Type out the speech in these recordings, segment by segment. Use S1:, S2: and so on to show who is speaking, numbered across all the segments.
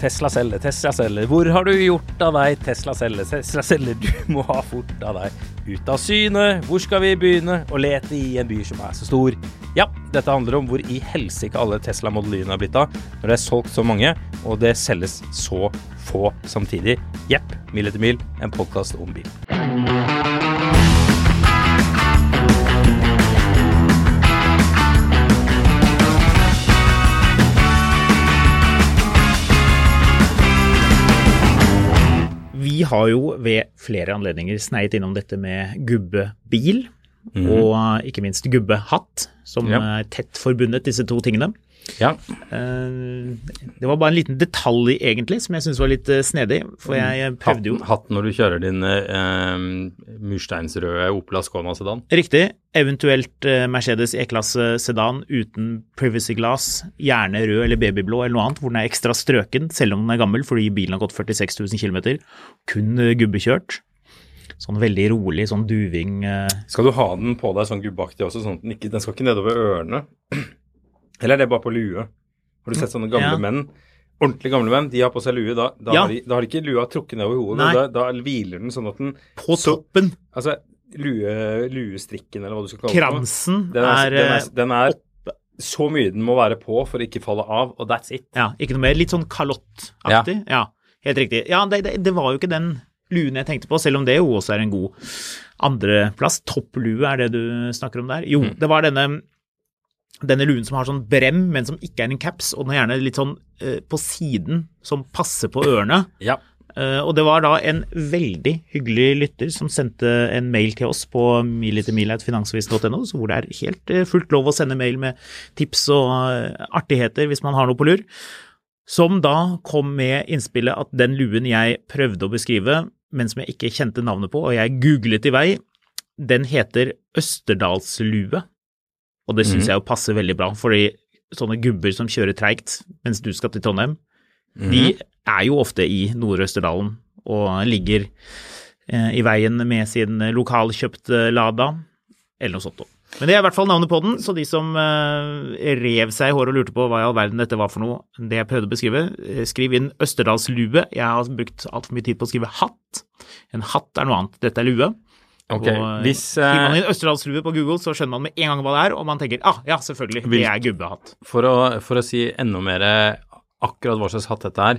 S1: Tesla selger, Tesla selger. Hvor har du gjort av deg? Tesla selger, Tesla selger. Du må ha fort av deg. Ut av syne. Hvor skal vi begynne å lete i en by som er så stor? Ja, dette handler om hvor i helsike alle Tesla Model Y-ene har blitt av når det er solgt så mange, og det selges så få samtidig. Jepp. Mil etter mil, en podkast om bil.
S2: Vi har jo ved flere anledninger sneiet innom dette med gubbebil og ikke minst gubbehatt, som
S1: Ja.
S2: er tett forbundet, disse to tingene.
S1: Ja.
S2: Eh, Det var bare en liten detalj egentlig som jeg syntes var litt eh, snedig, for jeg prøvde jo
S3: Hatten, hatten når du kjører din eh, mursteinsrøde Opel Ascona sedan.
S2: Riktig, eventuelt eh, Mercedes E-klasse sedan uten privacy glass, gjerne rød eller babyblå eller noe annet, hvor den er ekstra strøken selv om den er gammel fordi bilen har gått 46 000 km, kun eh, gubbekjørt. Sånn veldig rolig, sånn duving. eh,
S3: Skal du ha den på deg sånn gubbeaktig også, sånn at den ikke Den skal ikke nedover ørene. Eller er det bare på lue? Har du sett sånne gamle
S2: Ja.
S3: menn? Ordentlig gamle menn, de har på seg lue. Da, da,
S2: Ja.
S3: har, de, da har de ikke lua trukket nedover hodet.
S2: Nei.
S3: Da, da hviler den sånn at den
S2: På
S3: så-
S2: toppen,
S3: Altså lue, luestrikken, eller hva du skal kalle det.
S2: kransen
S3: Den er,
S2: er,
S3: den
S2: eh,
S3: er, den er så mye den må være på for å ikke falle av, og that's it.
S2: Ja, ikke noe mer. Litt sånn kalottaktig. Ja. ja, helt riktig. Ja, det, det, det var jo ikke den luen jeg tenkte på, selv om det jo også er en god andreplass. Topplue er det du snakker om der. Jo,
S3: Mm.
S2: det var denne denne luen som har sånn brem, men som ikke er en caps, og den er gjerne litt sånn eh, på siden, som passer på ørene.
S3: Ja.
S2: Eh, og det var da en veldig hyggelig lytter som sendte en mail til oss på militermil.finansavisen.no, så hvor det er helt eh, fullt lov å sende mail med tips og eh, artigheter hvis man har noe på lur. Som da kom med innspillet at den luen jeg prøvde å beskrive, men som jeg ikke kjente navnet på, og jeg googlet i vei, den heter Østerdalslue. Og det syns jeg jo passer veldig bra, fordi sånne gubber som kjører treigt mens du skal til Trondheim, de
S3: Mhm.
S2: er jo ofte i Nord-Østerdalen og ligger eh, i veien med sin lokalkjøpte Lada, eller noe sånt noe. Men det er i hvert fall navnet på den, så de som eh, rev seg i håret og lurte på hva i all verden dette var for noe, det jeg prøvde å beskrive, eh, skriv inn Østerdalslue. Jeg har altså brukt altfor mye tid på å skrive hatt. En hatt er noe annet, dette er lue.
S3: Ok,
S2: Og,
S3: hvis, eh,
S2: Skriver man inn Østerdalslue på Google, så skjønner man med en gang hva det er, og man tenker ah, ja, selvfølgelig, det
S3: Hvilk-
S2: er gubbehatt.
S3: For å, for å si enda mer akkurat hva slags hatt dette er,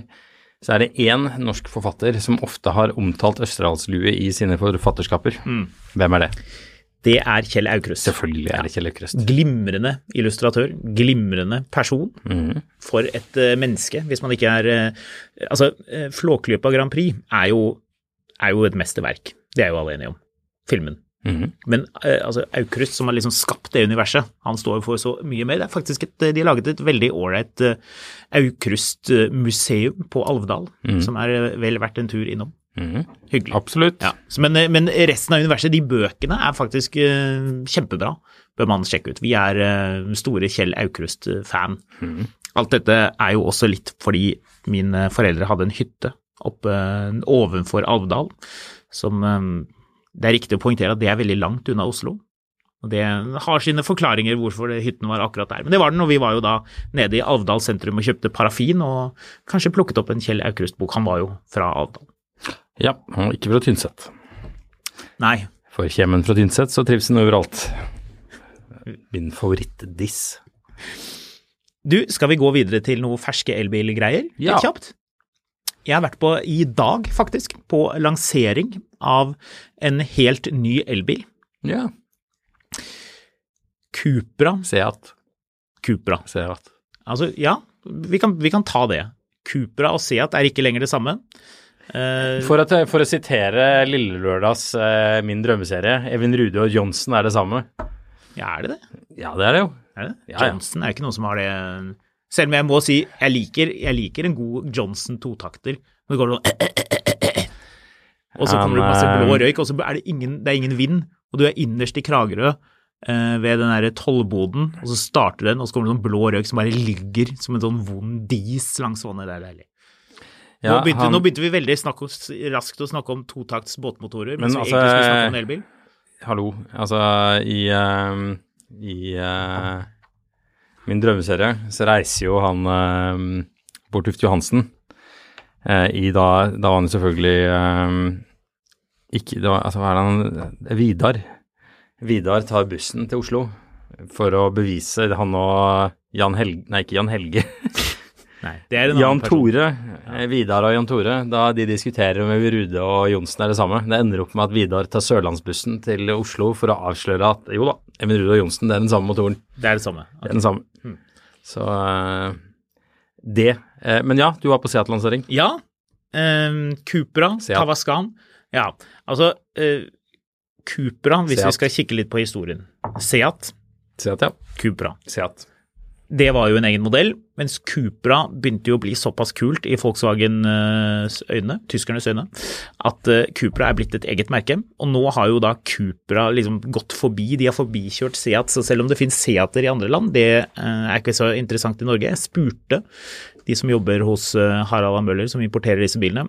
S3: så er det én norsk forfatter som ofte har omtalt Østerdalslue i sine forfatterskaper.
S2: Mm.
S3: Hvem er det?
S2: Det er Kjell Aukrust.
S3: Selvfølgelig er det Kjell Aukrust.
S2: Glimrende illustratør, glimrende person. For et eh, menneske, hvis man ikke er eh, Altså, eh, Flåklypa Grand Prix er jo, er jo et mesterverk. Det er jo alle enige om. Filmen.
S3: Mhm.
S2: Men eh, altså, Aukrust, som har liksom skapt det universet, han står jo for så mye mer. Det er faktisk et, eh, De har laget et veldig ålreit eh, Aukrust-museum på Alvdal, som er eh, vel verdt en tur innom. Hyggelig.
S3: Absolutt.
S2: Ja. Så, men, eh, men resten av universet, de bøkene, er faktisk eh, kjempebra. Bør man sjekke ut. Vi er eh, store Kjell Aukrust-fan. Alt dette er jo også litt fordi mine foreldre hadde en hytte oppe eh, ovenfor Alvdal, som eh, Det er riktig å poengtere at det er veldig langt unna Oslo. Og det har sine forklaringer hvorfor det- hytten var akkurat der. Men det var den, og vi var jo da nede i Alvdal sentrum og kjøpte parafin, og kanskje plukket opp en Kjell Aukrust-bok. Han var jo fra Alvdal.
S3: Ja, og ikke fra Tynset.
S2: Nei,
S3: For kommer en fra Tynset, så trives en overalt. Min favorittdiss.
S2: Du, skal vi gå videre til noe ferske elbilgreier? Litt
S3: Ja.
S2: kjapt. Jeg har vært på, i dag faktisk, på lansering av en helt ny elbil.
S3: Ja.
S2: Cupra.
S3: Seat.
S2: Cupra.
S3: Seat.
S2: Altså, ja, vi kan, vi kan ta det. Cupra og Seat er ikke lenger det samme. Eh,
S3: For, at, for å sitere Lille Lørdags eh, Min drømmeserie, Evin Rude og Johnsen er det samme.
S2: ja, er det det?
S3: Ja, det er det jo.
S2: Er det? det?
S3: Ja, ja.
S2: Johnson er ikke noen som har det. Selv om jeg må si, jeg liker, jeg liker en god Johnson totakter. Nå går det sånn Og så kommer det masse blå røyk, og så er det ingen, det er ingen vind. Og du er innerst i Kragerø eh, ved den derre tollboden, og så starter den, og så kommer det sånn blå røyk som bare ligger som en sånn vond dis langs vannet. Det er deilig.
S3: Ja,
S2: nå, begynte,
S3: han-
S2: nå begynte vi veldig snakk, raskt å snakke om totakts båtmotorer,
S3: Men
S2: mens vi
S3: altså,
S2: egentlig skulle snakke om en elbil.
S3: Hallo. Altså, i, eh, i eh, min drømmeserie så reiser jo han eh, Bård Tufte Johansen eh, i da Da var han jo selvfølgelig eh, ikke det var, Altså, hva er det han det er Vidar. Vidar tar bussen til Oslo for å bevise han og Jan Helge Nei, ikke Jan Helge.
S2: Nei, det er en annen
S3: Jan
S2: person.
S3: Tore. eh, Vidar og Jan Tore. Da de diskuterer om Rude og Johnsen er det samme. Det ender opp med at Vidar tar Sørlandsbussen til Oslo for å avsløre at jo da, Even Rude og Johnsen, det er den samme motoren.
S2: Det er det samme.
S3: Det er den samme.
S2: Hmm.
S3: Så eh, det. Eh, Men ja, du var på Seat-lansering.
S2: Ja. ehm, Cupra,
S3: Seat.
S2: Tavascan. Ja, altså eh, Cupra, hvis
S3: Seat.
S2: vi skal kikke litt på historien. Seat,
S3: Seat, ja.
S2: Cupra.
S3: Seat.
S2: Det var jo en egen modell, mens Cupra begynte jo å bli såpass kult i Volkswagens øyne, tyskernes øyne, at eh, Cupra er blitt et eget merke. Og nå har jo da Cupra liksom gått forbi, de har forbikjørt Seat, så selv om det finnes Seater i andre land, det eh, er ikke så interessant i Norge. Jeg spurte de som jobber hos eh, Harald A. Møller, som importerer disse bilene.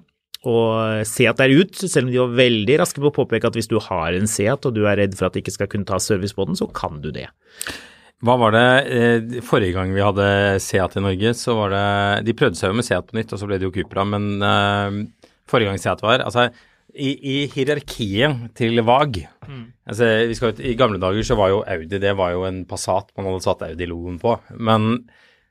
S2: Og eh, Seat er ut, selv om de var veldig raske på å påpeke at hvis du har en Seat og du er redd for at det ikke skal kunne ta service på den, så kan du det.
S3: Hva var det eh, forrige gang vi hadde Seat i Norge, så var det De prøvde seg jo med Seat på nytt, og så ble det jo Cupra, men eh, forrige gang Seat var Altså, i, i hierarkiet til Vag
S2: Mm.
S3: altså, vi skal, ut- I gamle dager så var jo Audi det var jo en Passat man hadde satt Audi-logoen på. Men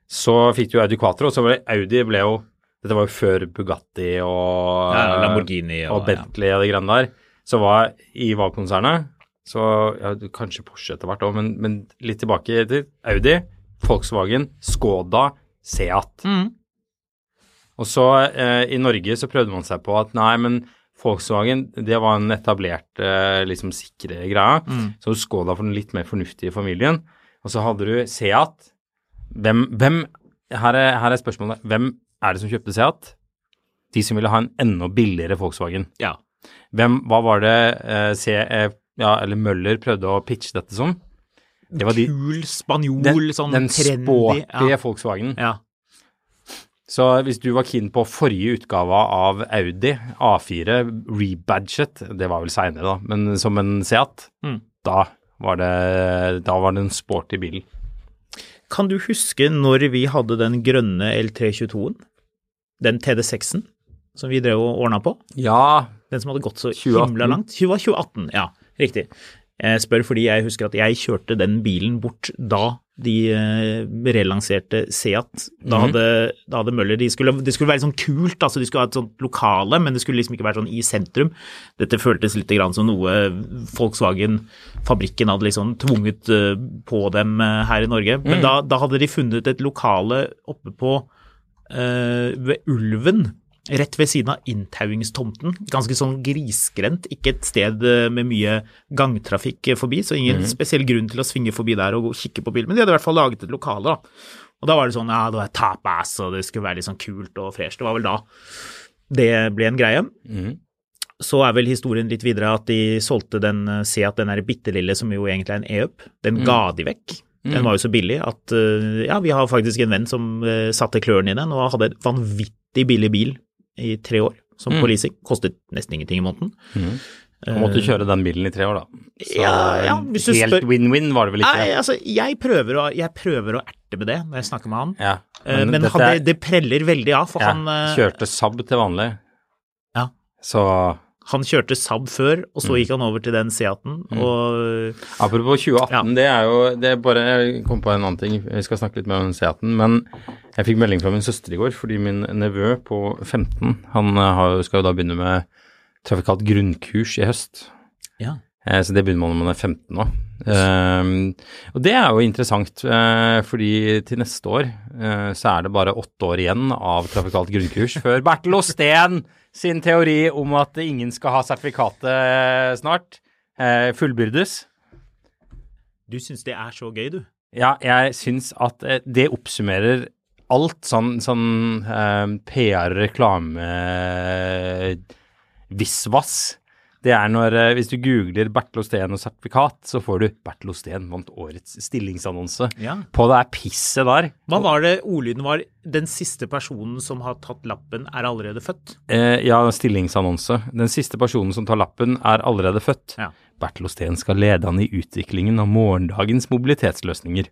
S3: så fikk du Audi Quatro, og så ble Audi ble jo Dette var jo før Bugatti og
S2: Ja, Lamborghini
S3: og,
S2: og- ja.
S3: Bentley og de greiene der. Så var i VAG-konsernet, så ja, du- kanskje Porsche etter hvert òg, men, men litt tilbake til Audi, Volkswagen, Skoda, Seat. Og så eh, i Norge så prøvde man seg på at nei, men Volkswagen det var en etablert, eh, liksom sikre greie. Så Skoda for den litt mer fornuftige familien. Og så hadde du Seat. Hvem, hvem her, er, her er spørsmålet. Hvem er det som kjøpte Seat? De som ville ha en enda billigere Volkswagen.
S2: Ja.
S3: Hvem, hva var det eh, C, eh, ja, eller Møller prøvde å pitche dette som? Det var de,
S2: Kul spanjol,
S3: den,
S2: sånn
S3: den
S2: trendy.
S3: sporty
S2: ja.
S3: Volkswagen.
S2: ja.
S3: Så hvis du var keen på forrige utgave av Audi A4 rebadget, det var vel seinere da, men som en Seat,
S2: Mm.
S3: da, var det, da var det en sporty bil.
S2: Kan du huske når vi hadde den grønne L322-en? Den TD6-en som vi drev og ordna på?
S3: Ja,
S2: Den som hadde gått så
S3: 2018.
S2: himla langt? 20, 2018, ja. Riktig. Jeg spør fordi jeg husker at jeg kjørte den bilen bort da de eh, relanserte Seat. Da hadde, da hadde Møller de skulle, Det skulle være sånn kult, altså de skulle ha et sånt lokale, men det skulle liksom ikke være sånn i sentrum. Dette føltes litt grann som noe Volkswagen-fabrikken hadde liksom tvunget eh, på dem eh, her i Norge. Men da, da hadde de funnet et lokale oppe på eh, ved Ulven, rett ved siden av inntauingstomten. Ganske sånn grisgrendt, ikke et sted eh, med mye gangtrafikk eh, forbi, så ingen spesiell grunn til å svinge forbi der og gå og kikke på bilen. Men de hadde i hvert fall laget et lokale, da. Og da var det sånn ja, det var tapas, og det skulle være litt sånn kult og fresh. Det var vel da det ble en greie. Så er vel historien litt videre at de solgte den eh, Seat, den der bitte lille som jo egentlig er en EUP, den ga de vekk. Den var jo så billig at eh, ja, vi har faktisk en venn som eh, satte klørne i den og hadde en vanvittig billig bil i tre år, som på leasing. Kostet nesten ingenting i måneden.
S3: man måtte kjøre den bilen i tre år da. Så
S2: Ja, ja, hvis du
S3: helt
S2: spør-
S3: win-win var det vel ikke?
S2: Nei, altså, jeg prøver, å, jeg prøver å erte med det når jeg snakker med han.
S3: ja,
S2: Eh, Men,
S3: dette
S2: han,
S3: er-
S2: sånn, det, det preller veldig av, for
S3: ja,
S2: han eh,
S3: kjørte Saab til vanlig.
S2: Ja.
S3: Så
S2: Han kjørte Saab før, og så gikk han over til den Seaten. Og
S3: Apropos 2018,
S2: Ja.
S3: det er jo det er bare, Jeg kom på en annen ting. Vi skal snakke litt mer om Seaten. Men jeg fikk melding fra min søster i går fordi min nevø på 15 Han eh, har, jo- skal jo da begynne med trafikalt grunnkurs i høst.
S2: ja.
S3: Eh, Så det begynner man når man er 15 nå. Ehm, og det er jo interessant, eh, fordi til neste år eh, så er det bare åtte år igjen av trafikalt grunnkurs før Bertil Osten sin teori om at ingen skal ha sertifikatet eh, snart, eh, fullbyrdes.
S2: Du syns det er så gøy, du.
S3: Ja, jeg syns at eh, det oppsummerer alt sånn, sånn eh, PR, reklame, eh, visvas. Det er når eh, Hvis du googler Bertil Osten og sertifikat, så får du 'Bertil Osten vant årets stillingsannonse'
S2: Ja.
S3: på det er pisset der.
S2: Hva var det ordlyden var? Den siste personen som har tatt lappen, er allerede født?
S3: Eh, ja, stillingsannonse. Den siste personen som tar lappen, er allerede født.
S2: Ja.
S3: Bertil Osten skal lede han i utviklingen av morgendagens mobilitetsløsninger.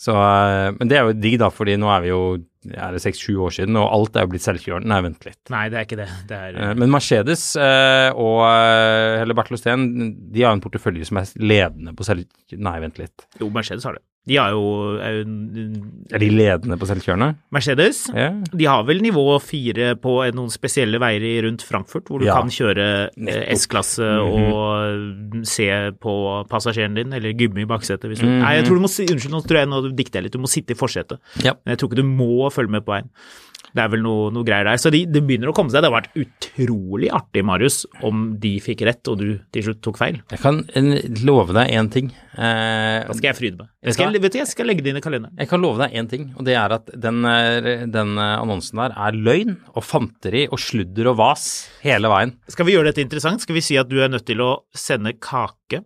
S3: Så, eh, men det er jo digg, da, fordi nå er vi jo er det seks-sju år siden, og alt er jo blitt selvkjørende. Nei, vent litt.
S2: Nei, det er ikke det. Det er
S3: Eh, Men Mercedes eh, og eh, eller Bertil Osten, de har en portefølje som er ledende på selv... Nei, vent litt.
S2: Jo, Mercedes har det. De har jo er jo-
S3: Er de ledende på selvkjørende?
S2: Mercedes.
S3: Ja.
S2: De har vel nivå fire på eh, noen spesielle veier i- rundt Frankfurt, hvor du
S3: Ja.
S2: kan kjøre eh,
S3: Nettopp.
S2: S-klasse og eh, se på passasjeren din, eller gubbe i baksetet. Hvis du...
S3: Mhm.
S2: Nei, jeg tror du må, si- unnskyld, nå tror jeg nå dikter jeg litt. Du må sitte i forsetet.
S3: Ja.
S2: Men jeg tror ikke du må følge med på veien. Det er vel noe, noe greier der. Så de, det begynner å komme seg. Det hadde vært utrolig artig, Marius, om de fikk rett og du til slutt tok feil.
S3: Jeg kan eh, love deg én ting. Eh,
S2: Da skal jeg fryde meg. Jeg skal, vet du, jeg skal legge det inn i kalenderen.
S3: Jeg kan love deg én ting, og det er at den, eh, den eh, annonsen der er løgn og fanteri og sludder og vas hele veien.
S2: Skal vi gjøre dette interessant? Skal vi si at du er nødt til å sende kake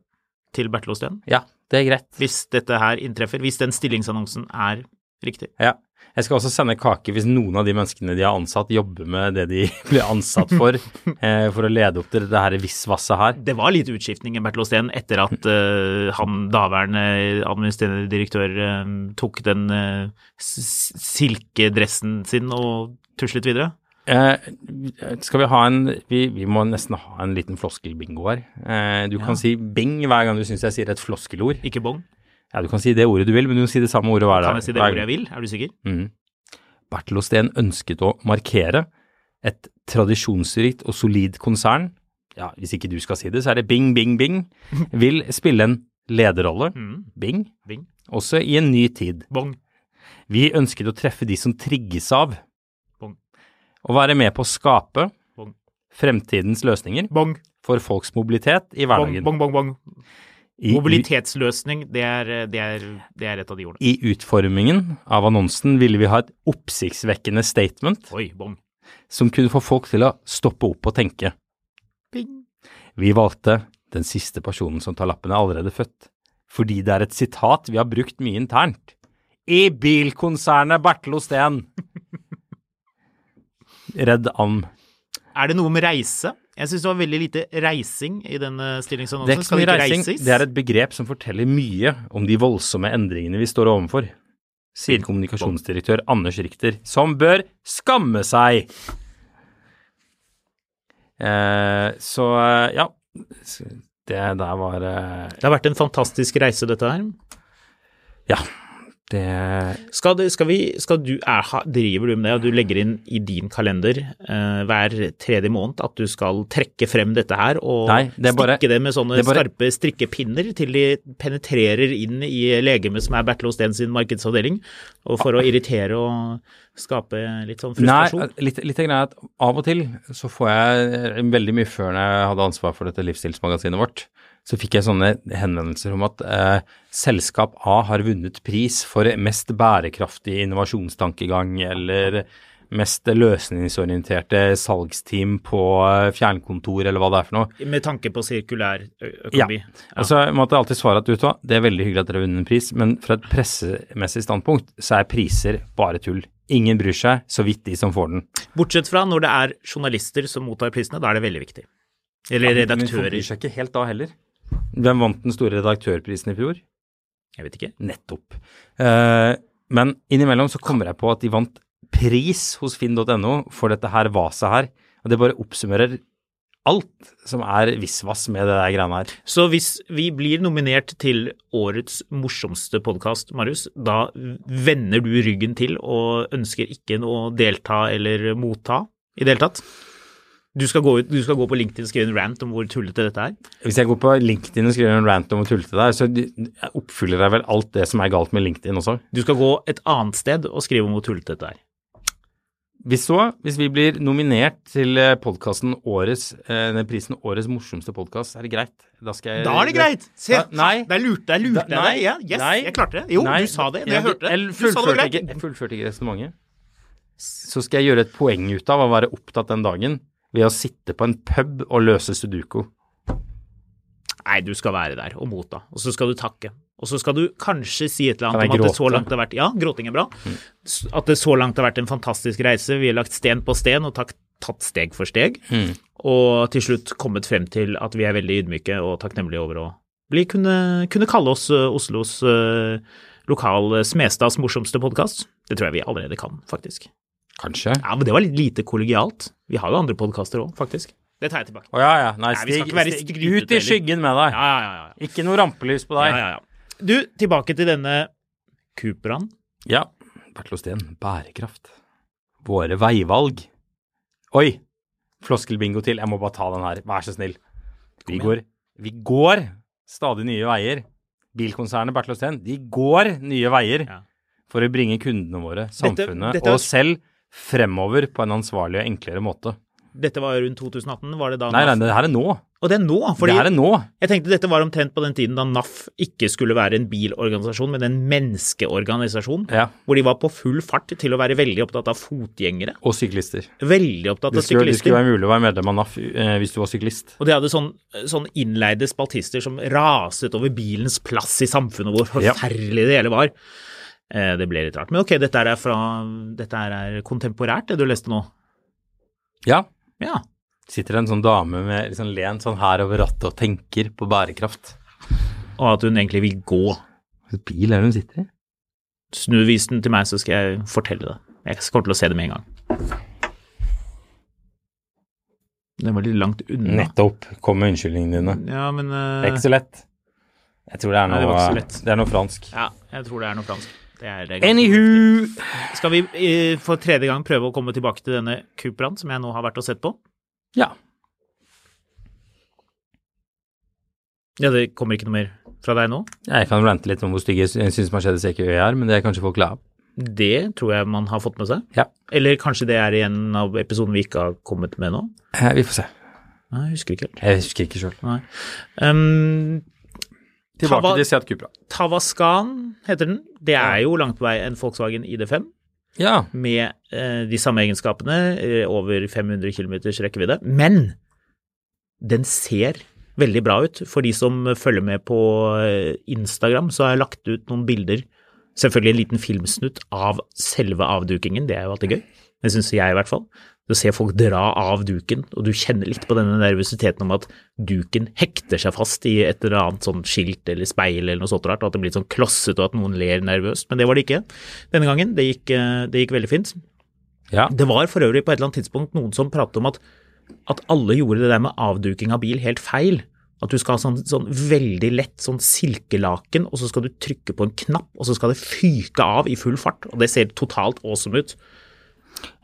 S2: til Bertil Osten?
S3: Ja, det er greit.
S2: hvis dette her inntreffer, hvis den stillingsannonsen er riktig.
S3: Ja. Jeg skal også sende kake hvis noen av de menneskene de har ansatt, jobber med det de ble ansatt for, eh, for å lede opp til det her visvasset her.
S2: Det var litt utskiftning i Bertil Osten etter at eh, han daværende administrerende direktør eh, tok den eh, s- silkedressen sin og tuslet videre.
S3: Eh, skal vi ha en vi, vi må nesten ha en liten floskelbingo her. Eh, du kan si bing hver gang du syns jeg sier et floskelord.
S2: Ikke bong.
S3: Ja, du kan si det ordet du vil, men du må si det samme ordet hver dag.
S2: Kan jeg si det
S3: hver
S2: ordet
S3: gang.
S2: jeg vil? Er du sikker?
S3: Mm. Bertil Osten ønsket å markere et tradisjonsrikt og solid konsern, ja, hvis ikke du skal si det, så er det bing, bing, bing, vil spille en lederrolle,
S2: Mm.
S3: bing,
S2: Bing.
S3: også i en ny tid.
S2: Bong.
S3: Vi ønsket å treffe de som trigges av,
S2: Bong.
S3: og være med på å skape
S2: Bong.
S3: fremtidens løsninger
S2: Bong.
S3: for folks mobilitet i
S2: Bong,
S3: hverdagen.
S2: bong, bong. bong.
S3: I-
S2: Mobilitetsløsning, det er, det, er, det er et av de ordene.
S3: I utformingen av annonsen ville vi ha et oppsiktsvekkende statement
S2: Oi, bong.
S3: som kunne få folk til å stoppe opp og tenke.
S2: Bing.
S3: Vi valgte den siste personen som tar lappen er allerede født, fordi det er et sitat vi har brukt mye internt. I bilkonsernet Bertil Osten. Redd Am.
S2: Er det noe med reise? Jeg syns det var veldig lite reising i denne stillingsannonsen.
S3: Det er ikke så
S2: Altså, Skal
S3: mye
S2: det
S3: reising.
S2: reises?
S3: Det er et begrep som forteller mye om de voldsomme endringene vi står overfor, sier kommunikasjonsdirektør Anders Richter, som bør skamme seg. Eh, så eh, ja, det der var eh,
S2: Det har vært en fantastisk reise, dette her.
S3: Ja. Det
S2: Skal, det, skal vi skal du, er, ha- Driver du med det, og du legger inn i din kalender eh, hver tredje måned at du skal trekke frem dette her og
S3: Nei, det er bare-
S2: stikke det med sånne
S3: det er bare-
S2: skarpe strikkepinner til de penetrerer inn i legemet som er Bertil Osten sin markedsavdeling, og for å irritere og skape litt sånn frustrasjon?
S3: Nei, litt, litt av greia er at av og til så får jeg veldig mye før når jeg hadde ansvar for dette livsstilsmagasinet vårt, så fikk jeg sånne henvendelser om at eh, selskap A har vunnet pris for mest bærekraftig innovasjonstankegang eller mest løsningsorienterte salgsteam på eh, fjernkontor eller hva det er for noe.
S2: Med tanke på sirkulær ø- økonomi.
S3: Og så måtte jeg alltid svare at vet du hva, det er veldig hyggelig at dere har vunnet en pris, men fra et pressemessig standpunkt så er priser bare tull. Ingen bryr seg, så vidt de som får den.
S2: Bortsett fra når det er journalister som mottar prisene, da er det veldig viktig. Eller
S3: Ja, men- men folk
S2: redaktører.
S3: bryr seg ikke helt da heller. Hvem vant den store redaktørprisen i fjor?
S2: Jeg vet ikke.
S3: Nettopp. Eh, men innimellom så kommer jeg på at de vant pris hos finn.no for dette her vaset her, og det bare oppsummerer alt som er visvas med det der greiene her.
S2: Så hvis vi blir nominert til årets morsomste podkast, Marius, da vender du ryggen til og ønsker ikke noe å delta eller motta i det hele tatt? Du skal, gå ut, du skal gå på LinkedIn og skrive en rant om hvor tullete dette er?
S3: Hvis jeg går på LinkedIn og skriver en rant om å tulle til deg, så jeg oppfyller jeg vel alt det som er galt med LinkedIn også.
S2: Du skal gå et annet sted og skrive om hvor tullete dette er?
S3: Hvis så, hvis vi blir nominert til eh, podcasten årets, eh, den prisen Årets morsomste podkast, er det greit? Da skal jeg
S2: Eh, Da er det greit! Se,
S3: Da- nei.
S2: der lurte jeg lurte
S3: Da- nei,
S2: deg. Ja, yes,
S3: nei,
S2: jeg klarte det. Jo,
S3: nei,
S2: du sa det.
S3: jeg-
S2: Jeg hørte det.
S3: Jeg
S2: Du sa det
S3: fullførte
S2: var
S3: ikke,
S2: greit.
S3: jeg fullførte ikke resonnementet. Så skal jeg gjøre et poeng ut av å være opptatt den dagen ved å sitte på en pub og løse sudoku.
S2: Nei, du skal være der og motta, og så skal du takke. Og så skal du kanskje si et eller
S3: Kan jeg
S2: annet om at det så
S3: gråte?
S2: langt har vært Ja, gråting er bra. S- At det så langt har vært en fantastisk reise. Vi har lagt sten på sten og tak- tatt steg for steg. Og til slutt kommet frem til at vi er veldig ydmyke og takknemlige over å bli, kunne, kunne kalle oss ø, Oslos ø, lokal ø, Smestads morsomste podkast. Det tror jeg vi allerede kan, faktisk.
S3: Kanskje.
S2: Ja, Men det var litt lite kollegialt. Vi har jo andre podkaster òg, faktisk. Det tar jeg tilbake.
S3: Å ja, ja. Nei,
S2: Nei, vi skal
S3: stig,
S2: ikke være
S3: stig
S2: skrytete
S3: ut i
S2: heller.
S3: skyggen med deg.
S2: Ja, ja, ja. ja.
S3: Ikke noe rampelys på
S2: Ja,
S3: deg.
S2: ja, ja. Du, tilbake til denne Cooperaen.
S3: Ja. Bertil Osten, bærekraft. Våre veivalg. Oi! Floskelbingo til. Jeg må bare ta den her. Vær så snill. Vi går, vi går stadig nye veier. Bilkonsernet Bertil Osten, de går nye veier
S2: Ja.
S3: for å bringe kundene våre,
S2: Dette-
S3: samfunnet
S2: dette er-
S3: og oss selv fremover på en ansvarlig og enklere måte.
S2: Dette var rundt 2018, var det da
S3: Nei, nei,
S2: NAF
S3: det her er nå.
S2: Og det er nå, altså-
S3: det
S2: fordi
S3: her er nå.
S2: jeg tenkte dette var omtrent på den tiden da NAF ikke skulle være en bilorganisasjon, men en menneskeorganisasjon.
S3: Ja.
S2: Hvor de var på full fart til å være veldig opptatt av fotgjengere,
S3: Og syklister.
S2: veldig opptatt
S3: Det
S2: av
S3: skulle, det skulle
S2: syklister.
S3: være mulig å være medlem av NAF eh, hvis du var syklist.
S2: Og de hadde sånn, sånn innleide spaltister som raset over bilens plass i samfunnet, hvor
S3: Ja.
S2: forferdelig det hele var. Eh, Det ble litt rart. Men ok, dette her er, fra, dette her er kontemporært, det du leste nå.
S3: Ja.
S2: Ja.
S3: Sitter en sånn dame med liksom lent sånn her over rattet og tenker på bærekraft.
S2: Og at hun egentlig vil gå.
S3: Hvilken bil er det hun sitter i?
S2: Snu vis den til meg, så skal jeg fortelle det. Jeg kommer til å se det med en gang. Den var litt langt unna.
S3: Nettopp. Kom med unnskyldningene dine.
S2: Ja, men
S3: Det er
S2: eh,
S3: ikke så lett. Jeg tror det er
S2: Nei,
S3: noe,
S2: det var ikke så lett.
S3: det er noe fransk.
S2: Ja, jeg tror det er noe fransk. Det er det ganske riktig.
S3: Anywho
S2: Skal vi eh, for tredje gang prøve å komme tilbake til denne Cooperaen som jeg nå har vært og sett på?
S3: Ja.
S2: Ja, det kommer ikke noe mer fra deg nå?
S3: Jeg kan rante litt om hvor stygge jeg syns Mercedes EQE er, men det er kanskje folk lei av.
S2: Det tror jeg man har fått med seg.
S3: Ja.
S2: Eller kanskje det er i en av episodene vi ikke har kommet med nå?
S3: Eh, Vi får se.
S2: Nei, jeg husker ikke helt.
S3: Jeg husker ikke sjøl.
S2: Nei. Um,
S3: Tilbake
S2: Tava-
S3: til Seat Cupra.
S2: Tavascan heter den. Det er jo langt på vei en Volkswagen ID5
S3: Ja.
S2: med eh, de samme egenskapene, eh, over 500 km rekkevidde. Men den ser veldig bra ut. For de som følger med på eh, Instagram, så har jeg lagt ut noen bilder. Selvfølgelig en liten filmsnutt av selve avdukingen, det er jo alltid gøy. Det syns jeg i hvert fall. Du ser folk dra av duken, og du kjenner litt på denne nervøsiteten om at duken hekter seg fast i et eller annet sånn skilt eller speil eller noe sånt rart, og at det blir litt sånn klosset og at noen ler nervøst. Men det var det ikke denne gangen. Det gikk, eh, det gikk veldig fint.
S3: ja.
S2: Det var for øvrig på et eller annet tidspunkt noen som pratet om at, at alle gjorde det der med avduking av bil helt feil. At du skal ha sånn, sånn veldig lett sånn silkelaken, og så skal du trykke på en knapp, og så skal det fyke av i full fart. Og det ser totalt awesome ut.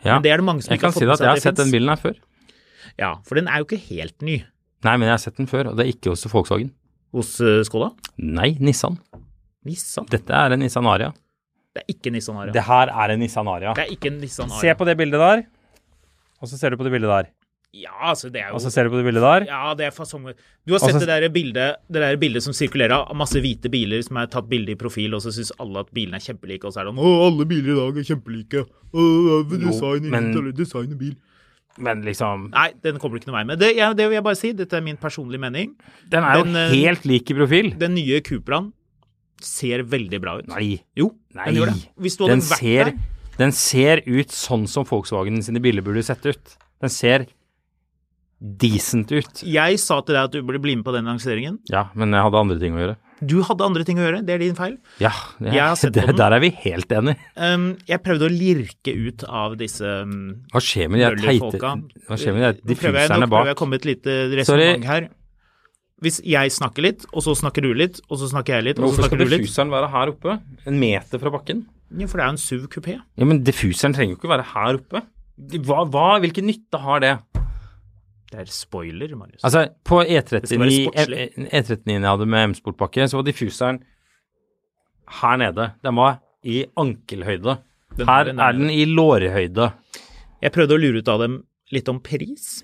S3: ja.
S2: Men det er det mange som
S3: Jeg kan
S2: ikke har
S3: si
S2: fått
S3: det
S2: med
S3: at jeg
S2: seg at
S3: har
S2: det
S3: sett den
S2: finnes.
S3: bilen her før.
S2: Ja, for den er jo ikke helt ny
S3: Nei, men jeg har sett den før, og det er ikke hos Volkswagen.
S2: hos eh, Skoda.
S3: Nei, Nissan.
S2: Nissan.
S3: Dette er en Nissan Aria.
S2: Det er ikke Nissan Aria.
S3: Det her er en Nissan Aria.
S2: Det er ikke en Nissan
S1: Se
S2: Aria.
S1: på det bildet der, og så ser du på det bildet der.
S2: Ja, altså, det er jo
S1: Og så ser du på det bildet der.
S2: Ja, det er fasonger. Du har sett
S1: Altså-
S2: det, der bildet, det der bildet som sirkulerer av masse hvite biler som er tatt bilde i profil, og så syns alle at bilene er kjempelike, og så er det sånn Å, alle biler i dag er kjempelike. Å, design,
S3: Jo, men-
S2: interiør, design og bil.
S3: Men liksom
S2: Nei, den kommer du ikke noen vei med. Det, jeg, det vil jeg bare si. Dette er min personlige mening.
S3: Den er jo
S2: Den, eh,
S3: helt lik i profil.
S2: Den nye Cooperaen ser veldig bra ut.
S3: Nei.
S2: Jo,
S3: Nei.
S2: den gjør det. Hvis du hadde
S3: Den
S2: vært
S3: ser,
S2: der
S3: den ser ut sånn som Volkswagen sine biler burde sett ut. Den ser decent ut.
S2: Jeg sa til deg at du burde bli med på den lanseringen.
S3: Ja, men jeg hadde andre ting å gjøre.
S2: Du hadde andre ting å gjøre, det er din feil.
S3: Ja, det,
S2: Jeg har sett på
S3: det,
S2: den.
S3: der er vi helt enige.
S2: Um, jeg prøvde å lirke ut av disse um,
S3: Hva skjer med de her teite
S2: møllerfolka.
S3: Hva skjer med de her
S2: Nå prøver jeg-
S3: diffuserne
S2: Nå prøver jeg
S3: bak?
S2: å komme med et lite
S3: Sorry.
S2: resonnement her. Hvis jeg snakker litt, og så snakker du litt, og så snakker jeg litt, og så
S3: Hvorfor
S2: snakker
S3: skal
S2: du litt
S3: diffuseren være her oppe? En meter fra bakken?
S2: Ja, For det er jo en SUV kupé.
S3: Ja, Men diffuseren trenger jo ikke være her oppe. Hva, hva, hvilken nytte har det?
S2: Det er spoiler, Marius.
S3: Altså, på
S2: Det skal være
S3: E39
S2: sportslig.
S3: E- E39 jeg hadde med M-sportpakke, så var diffuseren her nede. Den var i ankelhøyde.
S2: Den var
S3: Her
S2: i
S3: er den i lårhøyde. Altså-
S2: Jeg prøvde å lure ut av dem litt om pris.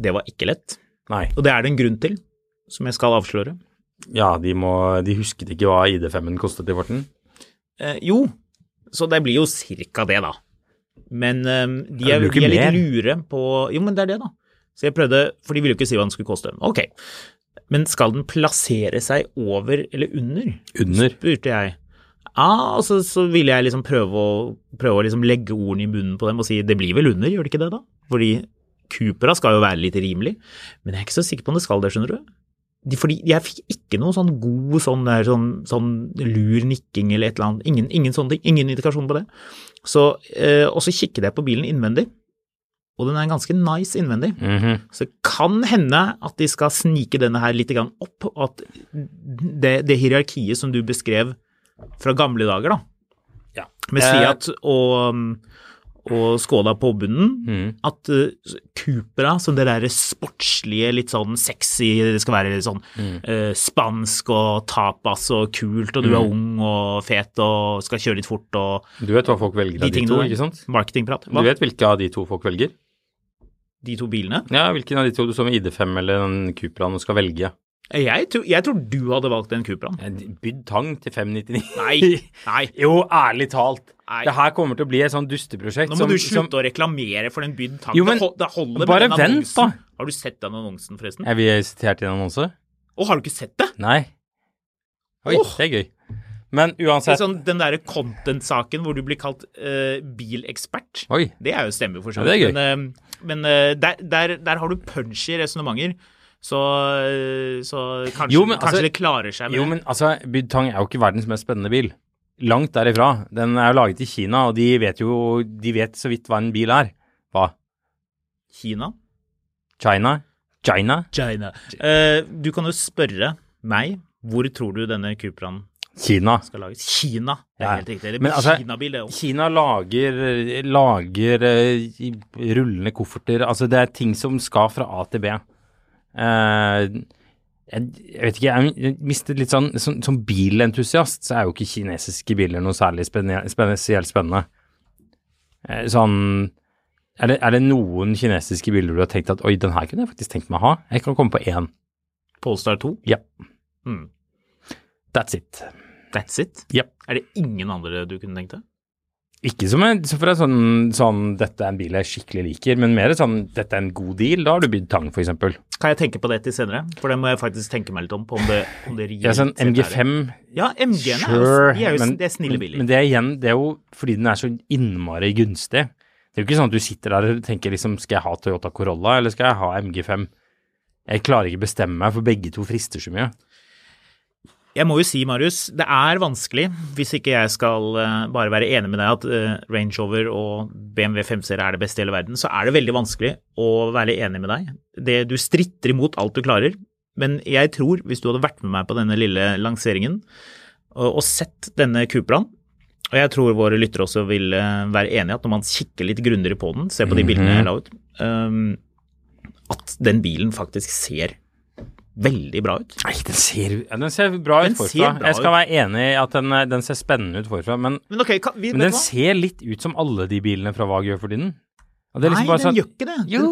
S2: Det var ikke lett.
S3: Nei.
S2: Og det er det en grunn til, som jeg skal avsløre.
S3: Ja, de, må, de husket ikke hva ID5-en kostet i farten.
S2: Eh, jo, så det blir jo cirka det, da. Men eh, de
S3: Ja,
S2: er,
S3: det blir jo
S2: de
S3: ikke
S2: er
S3: mer.
S2: litt lure på Jo, men det er det, da. Så jeg prøvde, for de ville jo ikke si hva den skulle koste. Ok, men skal den plassere seg over eller under?
S3: Under.
S2: spurte jeg. Ah, og så, så ville jeg liksom prøve å, prøve å liksom legge ordene i bunnen på dem og si det blir vel under, gjør det ikke det da? Fordi Cupra skal jo være litt rimelig, men jeg er ikke så sikker på om det skal det, skjønner du. De, fordi jeg fikk ikke noe sånn god sånn, der, sånn, sånn lur nikking eller et eller annet. Ingen, ingen sånne ting. Ingen indikasjon på det. Så, eh, og så kikket jeg på bilen innvendig, og den er ganske nice innvendig.
S3: Mhm,
S2: Så det kan hende at de skal snike denne her litt grann opp, og at det, det hierarkiet som du beskrev fra gamle dager, da,
S3: Ja. Eh.
S2: med Fiat og, mm, og Skoda på bunnen,
S3: Mm. mhm.
S2: at eh, Cupra, som det der sportslige, litt sånn sexy, det skal være litt sånn
S3: Mm.
S2: eh, spansk og tapas og kult, og du er
S3: Mm.
S2: ung og fet og skal kjøre litt fort og
S3: Du vet hva folk velger
S2: de
S3: av de,
S2: tingene
S3: to,
S2: der.
S3: ikke sant?
S2: Marketingprat.
S3: Du
S2: Hva?
S3: vet hvilke av de to folk velger?
S2: De to bilene.
S3: Ja, hvilken av de to du så med ID5 eller den Cupraen du skal velge?
S2: Jeg, tror- jeg tror du hadde valgt den Cupraen.
S3: Ja, de- Bydd tang til 599.
S2: Nei, nei.
S3: Jo, ærlig talt.
S2: Nei.
S3: Det her kommer til å bli et sånn dusteprosjekt.
S2: Nå må
S3: som-
S2: du
S3: som-
S2: slutte å reklamere for den bydd tanken.
S3: Jo, men
S2: det, hol- det holder med
S3: bare
S2: den
S3: vent,
S2: annonsen.
S3: da.
S2: Har du sett den annonsen, forresten?
S3: Er vi sitert i en annonse?
S2: Å, har du ikke sett det?
S3: Nei. Oi,
S2: Åh.
S3: det er gøy. Men
S2: det er
S3: uansett
S2: sånn, den derre content-saken hvor du blir kalt eh, bilekspert.
S3: Oi.
S2: Det er jo stemmer, for så
S3: Ja, det er gøy.
S2: vidt. men eh, men eh, der, der, der har du punchy resonnementer. Så, eh, så kanskje,
S3: Jo, men altså-
S2: kanskje det klarer seg med
S3: Jo, men altså, Bydtang er jo ikke verdens mest spennende bil. Langt derifra. Den er jo laget i Kina, og de vet jo De vet så vidt hva en bil er. Hva?
S2: Kina.
S3: China? China?
S2: China. Eh, du kan jo spørre meg hvor tror du denne Cupraen
S3: Kina.
S2: skal lages? Kina, det er
S3: Ja.
S2: helt riktig. Det
S3: Men
S2: blir
S3: altså-
S2: Kinabil, det også.
S3: Kina lager, lager eh, i- rullende kofferter Altså, det er ting som skal fra A til B. Eh, jeg, jeg vet ikke, jeg, jeg mistet litt sånn Som, som bilentusiast så er jo ikke kinesiske biler noe særlig spennende, spesielt spennende. Eh, sånn er det, er det noen kinesiske biler du har tenkt at oi, den her kunne jeg faktisk tenkt meg å ha? Jeg kan komme på én.
S2: Polestar 2.
S3: Ja.
S2: Mm.
S3: That's it.
S2: That's it?
S3: Yep.
S2: Er det ingen andre du kunne tenkt deg?
S3: Ikke som en, som for en sånn, sånn 'dette er en bil jeg skikkelig liker', men mer sånn 'dette er en god deal'. Da har du bydd tang, for eksempel.
S2: Kan jeg tenke på det til senere? For det må jeg faktisk tenke meg litt om. på om det, om det
S3: Ja, sånn
S2: reelt sett er det.
S3: MG5
S2: Ja, MG-ene er jo, de er jo det er snille biler.
S3: Men, men det, er igjen, det er jo fordi den er så innmari gunstig. Det er jo ikke sånn at du sitter der og tenker liksom skal jeg ha Toyota Corolla eller skal jeg ha MG5? Jeg klarer ikke bestemme meg, for begge to frister så mye.
S2: Jeg må jo si, Marius, det er vanskelig, hvis ikke jeg skal eh, bare være enig med deg at eh, Range Rover og BMW 5-serie er det beste i hele verden, så er det veldig vanskelig å være enig med deg. Det, du stritter imot alt du klarer, men jeg tror, hvis du hadde vært med meg på denne lille lanseringen og, og sett denne Cupraen, og jeg tror våre lyttere også vil eh, være enige at når man kikker litt grundigere på den, ser på de bildene jeg la ut, ehm, at den bilen faktisk ser veldig bra ut.
S3: Nei, den ser, ja, den ser bra
S2: Den
S3: ut forfra.
S2: ser bra
S3: Jeg
S2: ut.
S3: skal være enig i at den, eh, den ser spennende ut forfra, men,
S2: Men ok, kan, vi,
S3: men
S2: vet
S3: den
S2: du hva?
S3: ser litt ut som alle de bilene fra Vag gjør for tiden. Og det er liksom
S2: nei,
S3: bare
S2: den
S3: sånn-
S2: gjør ikke det.
S3: Jo,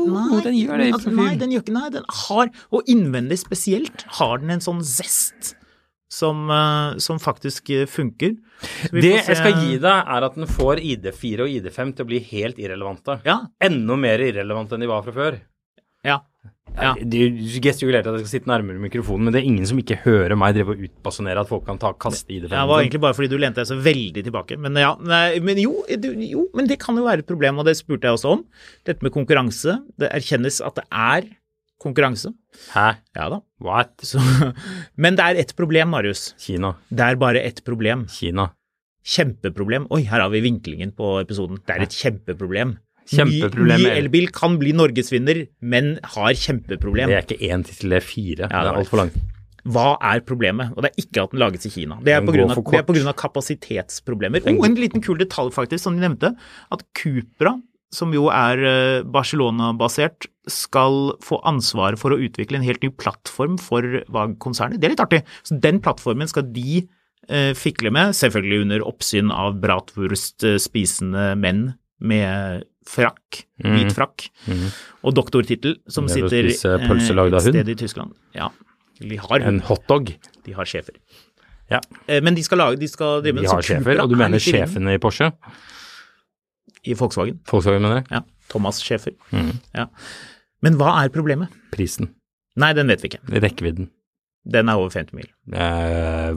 S3: den gjør det i
S2: altså, Nei,
S3: profil.
S2: den gjør ikke Nei, den har, og innvendig spesielt, har den en sånn zest som, eh, som faktisk eh, funker. Så vi
S3: Det
S2: får se-
S3: jeg skal gi deg, er at den får ID4 og ID5 til å bli helt irrelevante.
S2: Ja.
S3: Enda mer irrelevante enn de var fra før.
S2: Ja. Ja.
S3: Du gestikulerte at jeg skal sitte nærmere mikrofonen, men det er ingen som ikke hører meg drive og utbasunere at folk kan ta kaste ID5.
S2: Ja, Det var egentlig bare fordi du lente deg så veldig tilbake. Men, ja, nei, men jo, du, jo, men det kan jo være et problem, og det spurte jeg også om. Dette med konkurranse. Det erkjennes at det er konkurranse.
S3: Hæ?
S2: Ja da.
S3: What?
S2: Så, men det er ett problem, Marius.
S3: Kina.
S2: Det er bare ett problem.
S3: Kina.
S2: Kjempeproblem. Oi, her har vi vinklingen på episoden. Det er et kjempeproblem.
S3: Kjempeproblem,
S2: Ny, ny
S3: Erik.
S2: elbil kan bli norgesvinner, men har kjempeproblem.
S3: Det er ikke én tittel, det er fire.
S2: Ja,
S3: det
S2: det
S3: er
S2: var-
S3: altfor langt.
S2: Hva er problemet? Og det er ikke at den lages i Kina. Det er
S3: Den
S2: på grunn
S3: går
S2: av,
S3: for
S2: det er på
S3: kort.
S2: grunn av kapasitetsproblemer. Og en liten kul detalj faktisk, som de nevnte, at Cupra, som jo er eh, Barcelona-basert, skal få ansvaret for å utvikle en helt ny plattform for VAG-konsernet. Det er litt artig. Så den plattformen skal de eh, fikle med, selvfølgelig under oppsyn av bratwurst-spisende menn med frakk, hvit frakk, og doktortittel, som
S3: Mhm. Det er å
S2: sitter
S3: spise
S2: eh,
S3: pølse lagd av
S2: et
S3: hund.
S2: sted i Tyskland. Ja, de har
S3: En
S2: hund.
S3: hotdog.
S2: De har sjefer.
S3: Ja.
S2: Eh, Men de skal, lage, de skal drive
S3: De
S2: med sånn
S3: har sjefer. Og du mener sjefene i Porsche?
S2: I Volkswagen.
S3: Volkswagen mener jeg.
S2: Ja. Thomas Schæfer.
S3: Mhm.
S2: Ja. Men hva er problemet?
S3: Prisen.
S2: Nei, den vet vi ikke.
S3: Rekkevidden.
S2: Den er over 50 mil.
S3: Eh,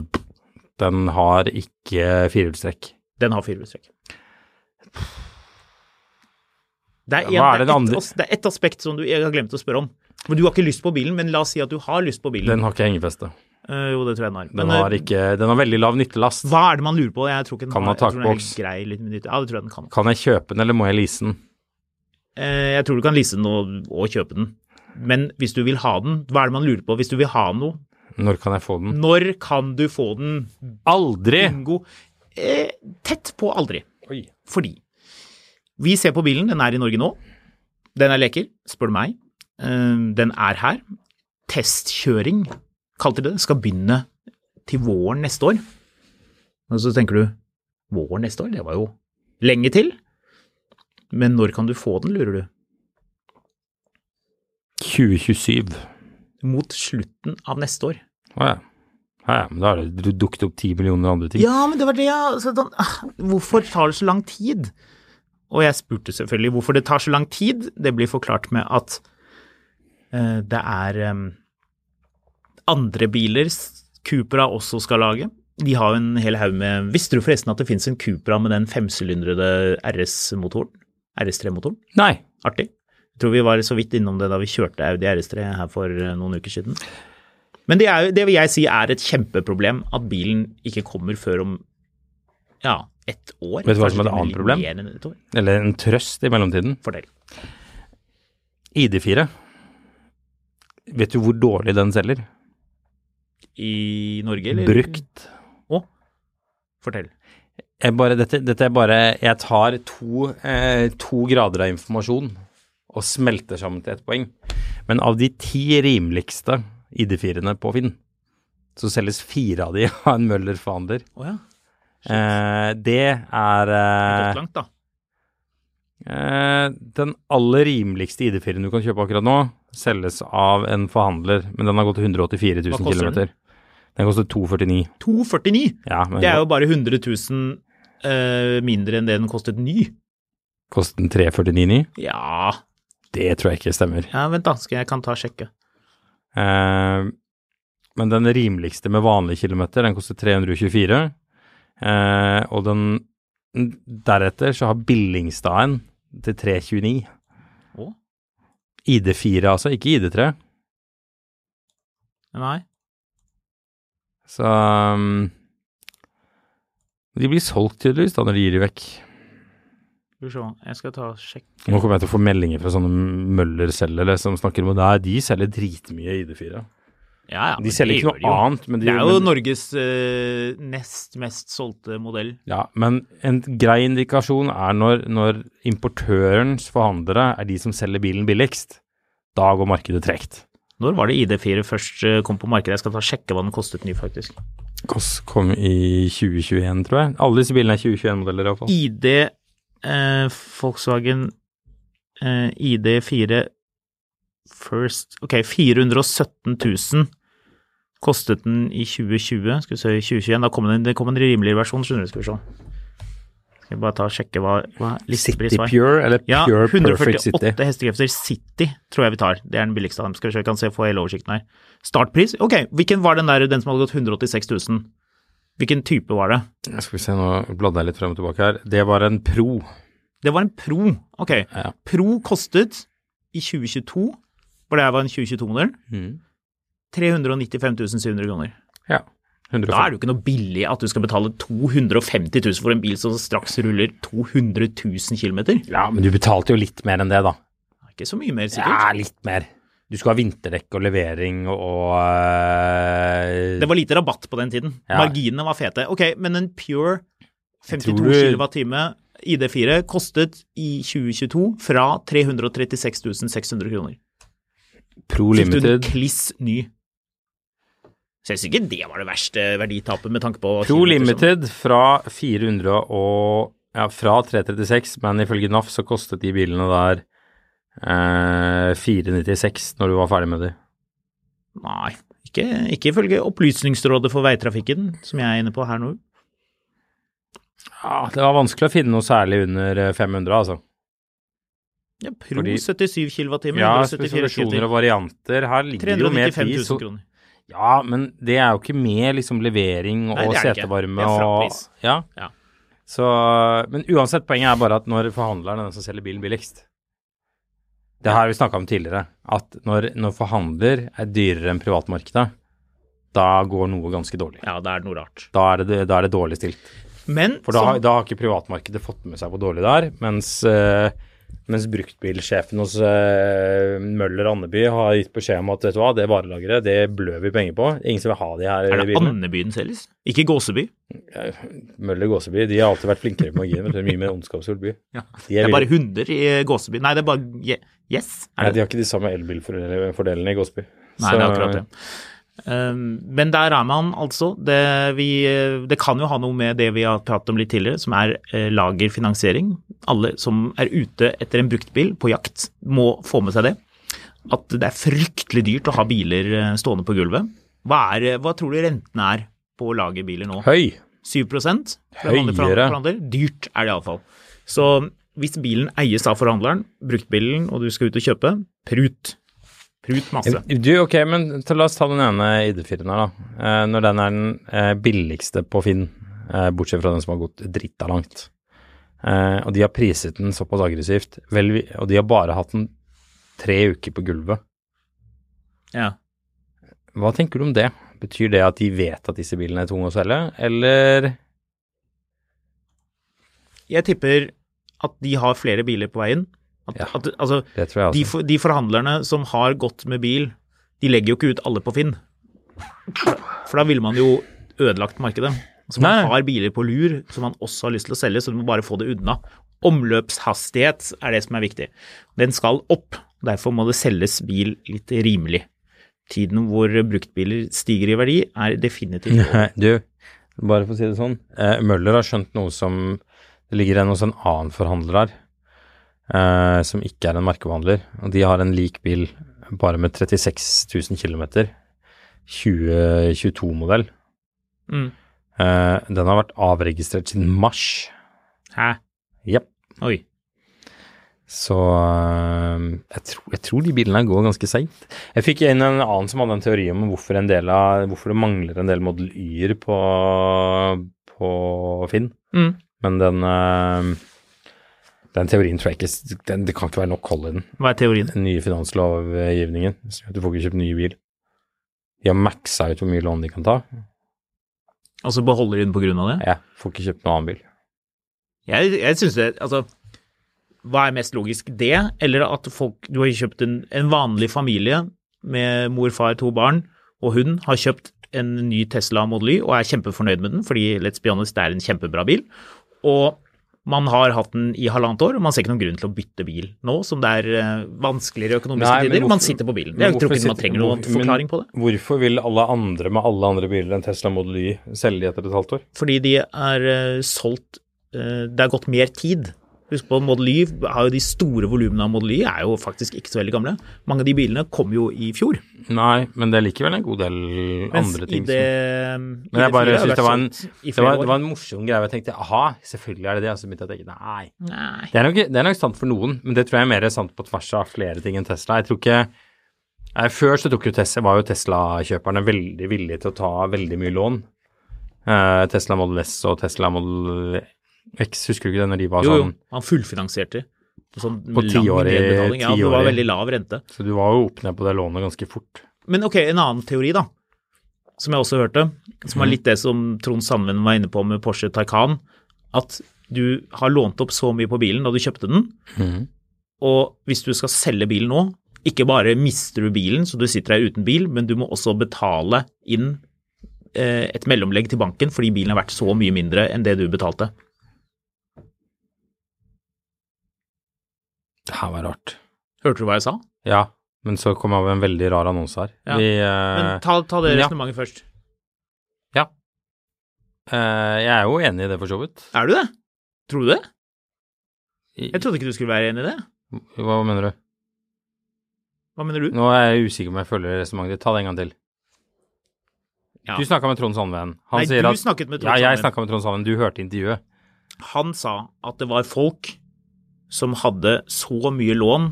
S3: den har ikke firehjulstrekk.
S2: Den har firehjulstrekk. Det er, en,
S3: Hva er det
S2: det, er
S3: andre-
S2: et, as- det er ett aspekt som du jeg har glemt å spørre om. Men Du har ikke lyst på bilen, men la oss si at du har lyst på bilen.
S3: Den har ikke hengefeste.
S2: Eh, jo, det tror jeg den har.
S3: Den,
S2: Men, eh,
S3: har, ikke, den har veldig lav nyttelast.
S2: Hva er det man lurer på? Jeg tror ikke den
S3: Kan
S2: har,
S3: ha
S2: jeg tror den er helt
S3: takboks.
S2: grei litt minutter. Ja, det tror jeg den kan.
S3: Kan jeg kjøpe den, eller må jeg lease den?
S2: Eh, Jeg tror du kan lease den og, og kjøpe den. Men hvis du vil ha den, hva er det man lurer på? Hvis du vil ha noe,
S3: Når kan jeg få den?
S2: når kan du få den,
S3: Aldri!
S2: Bingo? Eh, tett på aldri.
S3: Oi.
S2: Fordi vi ser på bilen, den er i Norge nå. Den er leker, spør du meg. Eh, den er her. Testkjøring, kalte de det, skal begynne til våren neste år. Og så tenker du, våren neste år, det var jo lenge til. Men når kan du få den, lurer du?
S3: 2027.
S2: mot slutten av neste år.
S3: Å ja. Ja, ja, men da har det dukket opp ti millioner andre ting.
S2: Ja, men det var det, ja. altså, sånn, ah, hvorfor tar det så lang tid? Og jeg spurte selvfølgelig hvorfor det tar så lang tid. Det blir forklart med at eh, det er eh, andre biler s- Cupra også skal lage. De har jo en hel haug med Visste du forresten at det fins en Cupra med den femsylindrede RS-motoren? RS3-motoren?
S3: Nei.
S2: Artig. Jeg tror vi var så vidt innom det da vi kjørte Audi RS3 her for eh, noen uker siden. Men det, er, jo- det vil jeg si er et kjempeproblem at bilen ikke kommer før om ja, ett år.
S3: Vet du hva som er
S2: Kanskje
S3: et annet
S2: litt
S3: problem?
S2: mer enn et år.
S3: Eller en trøst i mellomtiden.
S2: Fortell.
S3: ID4. Vet du hvor dårlig den selger?
S2: I Norge, eller?
S3: Brukt.
S2: Å, fortell.
S3: Jeg bare, dette, dette er bare Jeg tar to, eh, to grader av informasjon og smelter sammen til ett poeng. Men av de ti rimeligste ID4-ene på Finn, så selges fire av de av en Møller-forhandler.
S2: Å ja.
S3: Eh, det er eh,
S2: Gått langt, da.
S3: Eh, den aller rimeligste ID4-en du kan kjøpe akkurat nå, selges av en forhandler, men den har gått 184 000
S2: Hva koster
S3: km.
S2: den?
S3: Den koster 249.
S2: 249!
S3: Ja, men
S2: Det er jo bare 100 000 eh, mindre enn det den kostet ny.
S3: koster den 349,9?
S2: Ja
S3: Det tror jeg ikke stemmer.
S2: Ja, vent, da. Skal jeg kan ta og sjekke.
S3: Eh, men den rimeligste med vanlig kilometer, den koster 324. Eh, og den deretter så har Billingstaden til 329.
S2: Å?
S3: ID4 altså, ikke ID3.
S2: Nei.
S3: Så um, De blir solgt tydeligvis da når de gir de vekk.
S2: Skal vi se. Jeg skal ta og sjekke.
S3: Nå kommer jeg til å få meldinger fra sånne Møller-selgere som snakker om at nei, de selger dritmye ID4.
S2: Ja, ja,
S3: De
S2: men
S3: selger
S2: det
S3: ikke
S2: gjør de
S3: noe
S2: jo.
S3: annet, men de
S2: Det er jo
S3: men,
S2: Norges eh, nest mest solgte modell.
S3: ja, men en grei indikasjon er når, når importørens forhandlere er de som selger bilen billigst. Da går markedet tregt.
S2: Når var det ID4 først eh, kom på markedet? Jeg skal ta og sjekke hva den kostet ny, faktisk.
S3: Koss kom i 2021, tror jeg. Alle disse bilene er 2021-modeller, iallfall.
S2: ID eh, Volkswagen eh, ID4 First Ok, 417 000 kostet den i 2020. Skal vi se, i 2021. Da kom det, en- det kom en rimeligere versjon, skjønner du. Skal vi se. Skal vi bare ta og sjekke hva, hva listepris
S3: City
S2: var.
S3: Pure, eller
S2: Ja,
S3: Pure Perfect City.
S2: 148 hestekrefter City tror jeg vi tar. Det er den billigste av dem. Skal vi se, vi kan se få hele oversikten her. Startpris? Ok, hvilken var den der, den som hadde gått 186 000? Hvilken type var det?
S3: Skal vi se, nå bladde jeg litt frem og tilbake her. Det var en Pro.
S2: Det var en Pro. Ok,
S3: Ja.
S2: Pro kostet i 2022 For det her var en 2022-modell.
S3: Mhm.
S2: 395 700 kroner.
S3: Ja. 150.
S2: Da er det jo ikke noe billig at du skal betale 250 000 for en bil som straks ruller 200 000 km.
S3: Ja, men du betalte jo litt mer enn det, da.
S2: Ikke så mye mer, sikkert.
S3: Ja, litt mer. Du skulle ha vinterdekk og levering og eh,
S2: Det var lite rabatt på den tiden.
S3: Ja.
S2: Marginene var fete. Ok, men en Pure 52
S3: Tror du-
S2: kWh ID4 kostet i 2022 fra 336 600 kroner.
S3: Pro
S2: Fikk du den
S3: Limited.
S2: kliss ny. Så jeg syns ikke det var det verste verditapet med tanke på
S3: Pro
S2: kilometer som-
S3: Limited fra 400 og ja, fra 336, men ifølge NAF så kostet de bilene der eh, 496 når du var ferdig med de.
S2: Nei, ikke, ikke ifølge Opplysningsrådet for veitrafikken, som jeg er inne på her nå.
S3: Ja, det var vanskelig å finne noe særlig under eh, 500, altså.
S2: Ja, Pro
S3: Fordi-
S2: 77 kWh,
S3: Ja,
S2: 174
S3: spesifikasjoner
S2: kWh.
S3: og varianter. Her ligger det jo mer
S2: 395
S3: pris.
S2: 000
S3: og-
S2: kroner.
S3: Ja, men det er jo ikke med liksom levering
S2: Nei,
S3: og
S2: det er det ikke.
S3: setevarme
S2: Det er
S3: og
S2: frappris.
S3: ja.
S2: Ja.
S3: Så, men uansett, poenget er bare at når forhandleren er den som selger bilen billigst Det her har vi snakka om tidligere, at når, når forhandler er dyrere enn privatmarkedet, da går noe ganske dårlig.
S2: Ja, det er noe rart.
S3: Da er det, da er det dårlig stilt.
S2: Men
S3: For da, har-
S2: som,
S3: da har ikke privatmarkedet fått med seg hvor dårlig det er, mens, eh, mens bruktbilsjefen hos eh, Møller Andeby har gitt beskjed om at vet du hva, det varelageret, det blør vi penger på. Ingen som vil ha de her
S2: er det
S3: bilene.
S2: Andebyen selges? Ikke Gåseby.
S3: Møller Gåseby, de har alltid vært flinkere på marginer, men mye mer ondskapsfull by. De
S2: Det
S3: er
S2: er bare
S3: villige.
S2: hunder i Gåseby. Nei, det er bare Je- Yes.
S3: Nei,
S2: Er
S3: de
S2: det?
S3: har ikke de samme elbilfordelene i Gåseby.
S2: Nei, det er akkurat det. Um, men der er man altså. Det, vi, eh, det kan jo ha noe med det vi har pratet om litt tidligere, som er eh, lagerfinansiering. Alle som er ute etter en bruktbil på jakt, må få med seg det. At det er fryktelig dyrt å ha biler eh, stående på gulvet. Hva, er, eh, hva tror du rentene er på lagerbiler nå?
S3: Høy!
S2: 7 for vanlige forhan-
S3: Høyere.
S2: forhandler. Dyrt er det iallfall. Så hvis bilen eies av forhandleren, bruktbilen, og du skal ut og kjøpe, prut. Prut masse.
S3: Du, ok, men ta, la oss ta den ene ID4-en her, da. Eh, når den er den eh, billigste på Finn, eh, bortsett fra den som har gått drita langt. Eh, og de har priset den såpass aggressivt, vel, vi- og de har bare hatt den tre uker på gulvet.
S2: Ja.
S3: Hva tenker du om det? Betyr det at de vet at disse bilene er tunge å selge, eller
S2: Jeg tipper at de har flere biler på veien. At,
S3: Ja.
S2: at, altså,
S3: Det tror jeg også.
S2: de, for, de forhandlerne som har gått med bil, de legger jo ikke ut alle på Finn. For da ville man jo ødelagt markedet. Så man
S3: Nei.
S2: har biler på lur som man også har lyst til å selge, så du må bare få det unna. Omløpshastighet er det som er viktig. Den skal opp, derfor må det selges bil litt rimelig. Tiden hvor bruktbiler stiger i verdi, er definitivt over.
S3: Nei, du, bare for å si det sånn. Eh, Møller har skjønt noe som Det ligger en hos en annen forhandler her, eh, som ikke er en merkebehandler. Og de har en lik bil bare med 36 000 km. 2022-modell.
S2: Mm.
S3: Eh, den har vært avregistrert siden mars.
S2: Hæ?
S3: Jepp.
S2: Oi.
S3: Så eh, jeg, tror, jeg tror de bilene går ganske seint. Jeg fikk inn en annen som hadde en teori om hvorfor, en del av, hvorfor det mangler en del Model Y-er på, på Finn.
S2: Mm.
S3: Men den, eh, den teorien tror jeg ikke s- den, Det kan ikke være nok hold i den.
S2: Hva er teorien?
S3: Den nye finanslovgivningen. så Du får ikke kjøpt ny bil. De har maxa ut hvor mye lån de kan ta.
S2: Og så Altså, beholder de den på grunn av det?
S3: Jeg får ikke kjøpt noen annen bil.
S2: Jeg, jeg synes det Altså, hva er mest logisk? Det, eller at folk Du har kjøpt en, en vanlig familie med mor, far, to barn, og hun har kjøpt en ny Tesla Model Y og er kjempefornøyd med den, fordi let's be honest, det er en kjempebra bil. Og man har hatt den i halvannet år, og man ser ikke noen grunn til å bytte bil nå som det er eh, vanskeligere økonomiske
S3: Nei, men
S2: tider. man
S3: hvorfor-
S2: sitter på bilen.
S3: men
S2: Jeg tror
S3: hvorfor
S2: ikke man
S3: sitter-
S2: trenger noen
S3: hvor- men
S2: forklaring på det.
S3: Hvorfor vil alle andre med alle andre biler enn Tesla Model Y selge de etter et halvt år?
S2: fordi de er eh, solgt eh, Det er gått mer tid. Husk på Model Y har jo de store volumene av Model Y, er jo faktisk ikke så veldig gamle. Mange av de bilene kom jo i fjor.
S3: Nei, men det er likevel en god del
S2: Mens
S3: andre ting
S2: i det,
S3: som
S2: i
S3: Men jeg bare
S2: fire har
S3: synes
S2: vært
S3: det var en,
S2: solgt i
S3: det
S2: flere
S3: var, det
S2: år.
S3: var en morsom greie. Jeg tenkte aha, selvfølgelig er det det. Og så begynte jeg å tenke nei.
S2: Nei.
S3: Det er, nok, det er nok sant for noen, men det tror jeg er mer sant på tvers av flere ting enn Tesla. Jeg tror ikke nei, Før så tok jo Tesla, var jo Tesla-kjøperne veldig villige til å ta veldig mye lån. Eh, Tesla Model S og Tesla Model X, husker du ikke det når de var
S2: Jo, jo.
S3: sånn
S2: Han fullfinansierte. sånn
S3: På
S2: lang
S3: tiårig-
S2: nedbetaling. Ja, det var
S3: tiårig.
S2: veldig lav rente.
S3: Så du var jo opp ned på det lånet ganske fort.
S2: Men ok, en annen teori da, som jeg også hørte, som var litt det som Trond Sandven var inne på med Porsche Taycan, at du har lånt opp så mye på bilen da du kjøpte den, Mhm. og hvis du skal selge bilen nå, ikke bare mister du bilen, så du sitter der uten bil, men du må også betale inn eh, et mellomlegg til banken fordi bilen er verdt så mye mindre enn det du betalte.
S3: Det her var rart.
S2: Hørte du hva jeg sa?
S3: Ja, men så kom jeg over en veldig rar annonse her.
S2: Ja,
S3: Vi, eh,
S2: Men ta, ta det
S3: ja.
S2: resonnementet først.
S3: ja. Eh, jeg er jo enig i det, for så vidt.
S2: Er du det? Tror du det?
S3: I-
S2: Jeg trodde ikke du skulle være enig i det.
S3: Hva mener du?
S2: Hva mener du?
S3: Nå er jeg usikker om jeg følger resonnementet ditt. Ta det en gang til.
S2: Ja.
S3: Du snakka med Trond Sandven. Han
S2: Nei,
S3: sier
S2: du
S3: at
S2: snakket med Trond
S3: Ja, jeg
S2: Sandven.
S3: snakka med Trond Sandven. Du hørte intervjuet.
S2: Han sa at det var folk som hadde så mye lån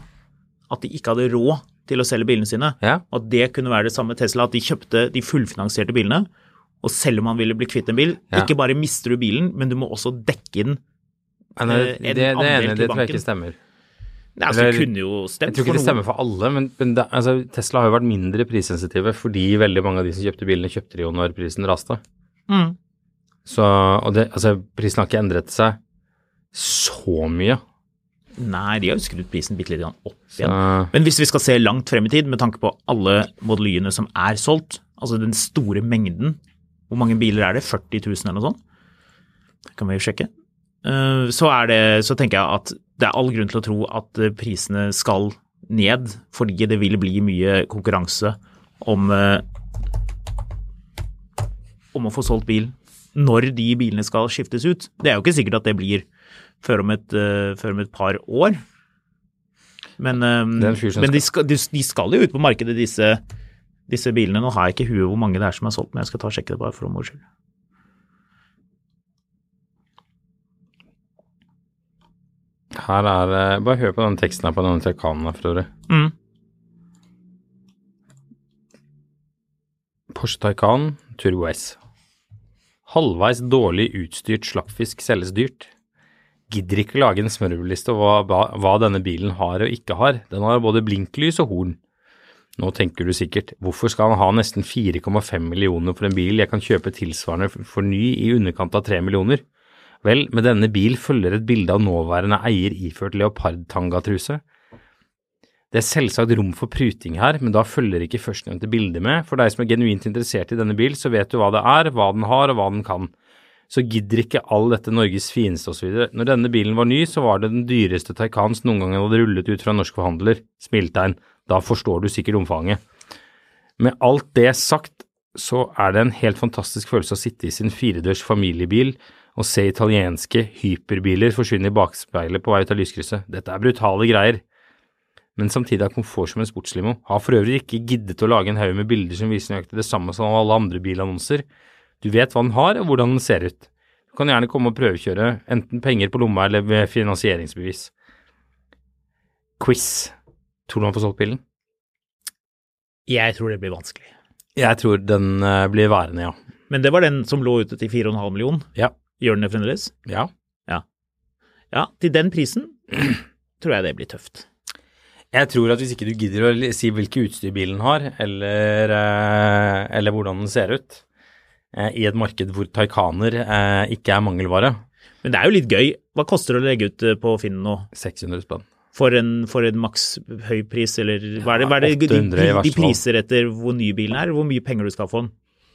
S2: at de ikke hadde råd til å selge bilene sine.
S3: Ja.
S2: Og at det kunne være det samme Tesla, at de kjøpte de fullfinansierte bilene. Og selv om man ville bli kvitt en bil,
S3: Ja.
S2: ikke bare mister du bilen, men du må også dekke den.
S3: Nei, nei,
S2: Eh,
S3: det,
S2: en
S3: det, det
S2: andel
S3: ene
S2: til
S3: det tror jeg
S2: banken.
S3: ikke stemmer.
S2: Nei, altså, det
S3: Eller-
S2: kunne jo
S3: Jeg
S2: stemt
S3: tror ikke
S2: for
S3: det
S2: noen.
S3: stemmer for alle, men, men det, altså, Tesla har jo vært mindre prissensitive fordi veldig mange av de som kjøpte bilene, kjøpte de jo når prisen raste.
S2: Mm.
S3: Så, og det, altså, prisen har ikke endret seg så mye.
S2: Nei, de har jo skrudd prisen bitte litt opp
S3: Så,
S2: igjen. Men hvis vi skal se langt frem i tid, med tanke på alle Model Y-ene som er solgt, altså den store mengden Hvor mange biler er det? 40 000 eller noe sånt? Det kan vi jo sjekke. Eh, Så, er det, så tenker jeg at det er all grunn til å tro at eh, prisene skal ned, fordi det vil bli mye konkurranse om eh, om å få solgt bil når de bilene skal skiftes ut. Det er jo ikke sikkert at det blir før om et, eh, før om et par år. Men, eh,
S3: Det er en fyr som
S2: men de, skal, de, de skal jo ut på markedet, disse, disse bilene. Nå har jeg ikke i huet hvor mange det er som er solgt, men jeg skal ta og sjekke det bare for moro skyld.
S3: her er eh, Bare hør på den teksten her på denne Taycanen her, for øvrig.
S2: Mm.
S3: Porsche Taycan Turbo S. Halvveis dårlig utstyrt slappfisk selges dyrt. Gidder ikke lage en smørbrødliste over hva, hva denne bilen har og ikke har. Den har både blinklys og horn. Nå tenker du sikkert, hvorfor skal han ha nesten 4,5 millioner for en bil jeg kan kjøpe tilsvarende f- for ny i underkant av 3 millioner? Vel, med denne bil følger et bilde av nåværende eier iført leopardtangatruse. Det er selvsagt rom for pruting her, men da følger ikke førstnevnte bilde med. For deg som er genuint interessert i denne bil, så vet du hva det er, hva den har og hva den kan. Så gidder ikke all dette Norges fineste osv. Når denne bilen var ny, så var det den dyreste Taycan som noen gang hadde rullet ut fra norsk forhandler. Smiletegn. Da forstår du sikkert omfanget. Med alt det sagt, så er det en helt fantastisk følelse å sitte i sin firedørs familiebil og se italienske hyperbiler forsvinne i bakspeilet på vei ut av lyskrysset. Dette er brutale greier men samtidig har komfort som en sportslimo. Har for øvrig ikke giddet å lage en haug med bilder som viser nøyaktig det samme som alle andre bilannonser. Du vet hva den har, og hvordan den ser ut. Du kan gjerne komme og prøvekjøre, enten penger på lomma eller med finansieringsbevis. Quiz. Tror du han får solgt bilen?
S2: Jeg tror det blir vanskelig.
S3: Jeg tror den eh, blir værende, ja.
S2: Men det var den som lå ute til 4,5 million.
S3: Ja.
S2: Gjør den det fremdeles?
S3: Ja.
S2: Ja, til den prisen tror jeg det blir tøft.
S3: Jeg tror at hvis ikke du gidder å li- si hvilket utstyr bilen har, eller, eh, eller hvordan den ser ut, eh, i et marked hvor Taycaner eh, ikke er mangelvare,
S2: Men det er jo litt gøy. Hva koster det å legge ut eh, på Finn nå?
S3: 600 spenn.
S2: For en, for en maks høy pris, eller hva er det, hva er det de,
S3: 800 i
S2: de,
S3: hvert
S2: de
S3: fall.
S2: priser etter hvor ny bilen er, hvor mye penger du skal få den?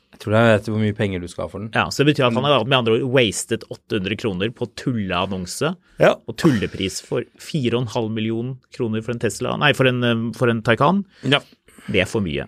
S3: Jeg tror jeg vet hvor mye penger du skal ha for den.
S2: Ja, Så det betyr at han
S3: Mm.
S2: har med andre ord wastet 800 kroner på tulleannonse
S3: Ja.
S2: og tullepris for 4,5 million kroner for en Tesla, nei, for en, eh, for en Taycan. Det er for mye.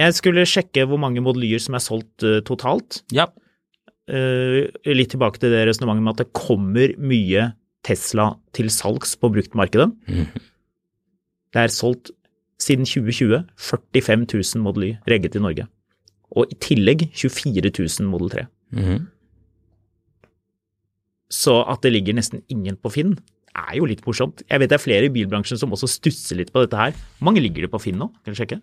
S2: Jeg skulle sjekke hvor mange modellyer som er solgt eh, totalt.
S3: Ja.
S2: Eh, litt tilbake til det resonnementet med at det kommer mye Tesla til salgs på bruktmarkedet. Det er solgt siden 2020 45 000 Model Y regget i Norge. Og i tillegg 24 000 Model 3. Så at det ligger nesten ingen på Finn, er jo litt morsomt. Jeg vet det er flere i bilbransjen som også stusser litt på dette her. Hvor mange ligger det på Finn nå? Kan du sjekke?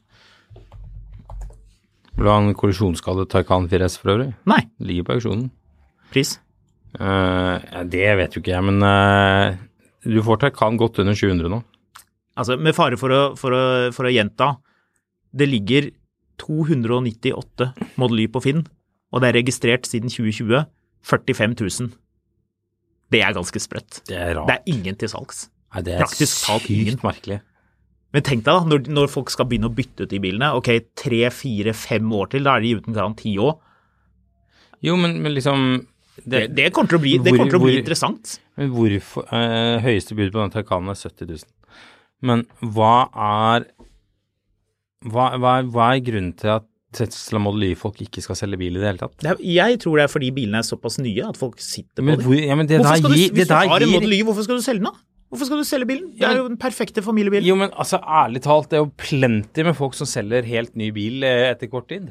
S3: Vil du ha en kollisjonsskadet Taycan 4S for øvrig?
S2: Nei.
S3: Ligger på auksjonen.
S2: Pris?
S3: Eh, ja, det vet jo ikke jeg, men eh, du får Taycan godt under 700 nå.
S2: Altså, med fare for å, for å, for å gjenta, det ligger 298 Model Y på Finn, og det er registrert siden 2020 45 000. Det er ganske sprøtt.
S3: Det er rart.
S2: Det er ingen til salgs.
S3: Nei, det
S2: praktisk talt ingen.
S3: sykt merkelig.
S2: Men tenk deg da, når, når folk skal begynne å bytte ut de bilene, ok, tre, fire, fem år til, da er de uten garanti òg.
S3: Jo, men, men liksom
S2: Det,
S3: det,
S2: det kommer til å bli, det
S3: Hvor-
S2: kommer til å bli
S3: hvor-
S2: interessant.
S3: Men hvorfor eh, Høyeste bud på den Taycanen er 70 000. Men hva er hva, hva, er- hva er grunnen til at Tesla Model Y-folk ikke skal selge bil i det hele tatt?
S2: Det er, jeg tror det er fordi bilene er såpass nye at folk sitter på
S3: Men
S2: dem.
S3: hvor, ja, men det
S2: Hvorfor
S3: der
S2: skal du,
S3: gir, det
S2: hvis du
S3: der
S2: har en
S3: gir
S2: Model Y, hvorfor skal du selge den da? Hvorfor skal du selge bilen? Det
S3: Ja,
S2: er
S3: men-
S2: jo den perfekte familiebilen.
S3: Jo, men altså, ærlig talt, det er jo plenty med folk som selger helt ny bil eh, etter kort tid.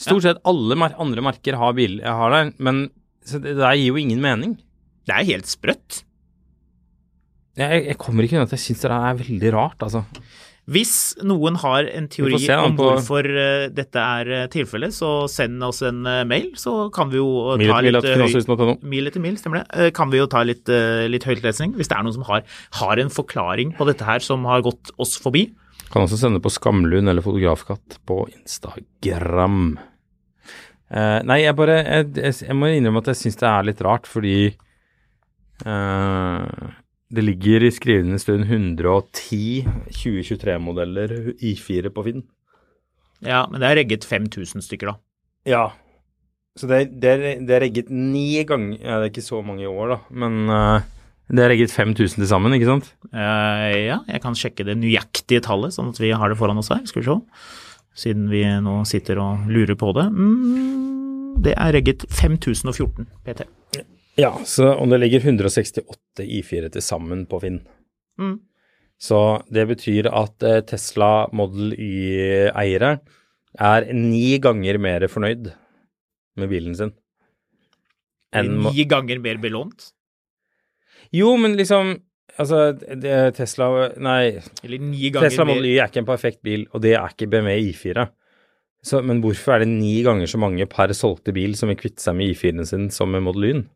S3: Stort sett alle mer andre merker har bil, jeg har der, men så det det der gir jo ingen mening.
S2: Det er helt sprøtt.
S3: Jeg, jeg kommer ikke unna at jeg syns det der er veldig rart, altså.
S2: Hvis noen har en
S3: Vi
S2: teori
S3: får se da
S2: om
S3: på-
S2: hvorfor eh, dette er eh, tilfellet, så send oss en eh, mail, så kan vi jo eh,
S3: Mil
S2: ta
S3: etter mil
S2: litt
S3: at
S2: eh, høy-
S3: finanshusen.no.
S2: Mil etter mil, stemmer det. Eh, Kan vi jo ta litt, eh, litt høytlesning, hvis det er noen som har, har en forklaring på dette her som har gått oss forbi.
S3: Kan også sende på Skamlund eller Fotografkatt på Instagram. Eh, nei, jeg bare jeg, jeg, jeg må innrømme at jeg syns det er litt rart, fordi eh, det ligger i skrivende stund 110 2023-modeller I4 på Finn.
S2: Ja, men det er regget 5000 stykker da.
S3: Ja. Så det, det, er- det er regget ni ganger ja, Det er ikke så mange i år, da, men eh, det er regget 5000 til sammen, ikke sant?
S2: Eh, ja, jeg kan sjekke det nøyaktige tallet, sånn at vi har det foran oss her. Skal vi se. Siden vi nå sitter og lurer på det. Mm, det er regget 5014 PT.
S3: Ja, så om det ligger 168 I4 til sammen på Finn.
S2: Mm.
S3: Så det betyr at eh, Tesla Model Y-eiere er ni ganger mer fornøyd med bilen sin. enn mo-
S2: Ni ganger mer belånt.
S3: Jo, men liksom Altså, det, Tesla Nei,
S2: Eller ni ganger
S3: Tesla Model
S2: mer
S3: Y er ikke en perfekt bil, og det er ikke BMW I4. Så, men hvorfor er det ni ganger så mange per solgte bil som vil kvitte seg med I4-en sin som med Model Y-en?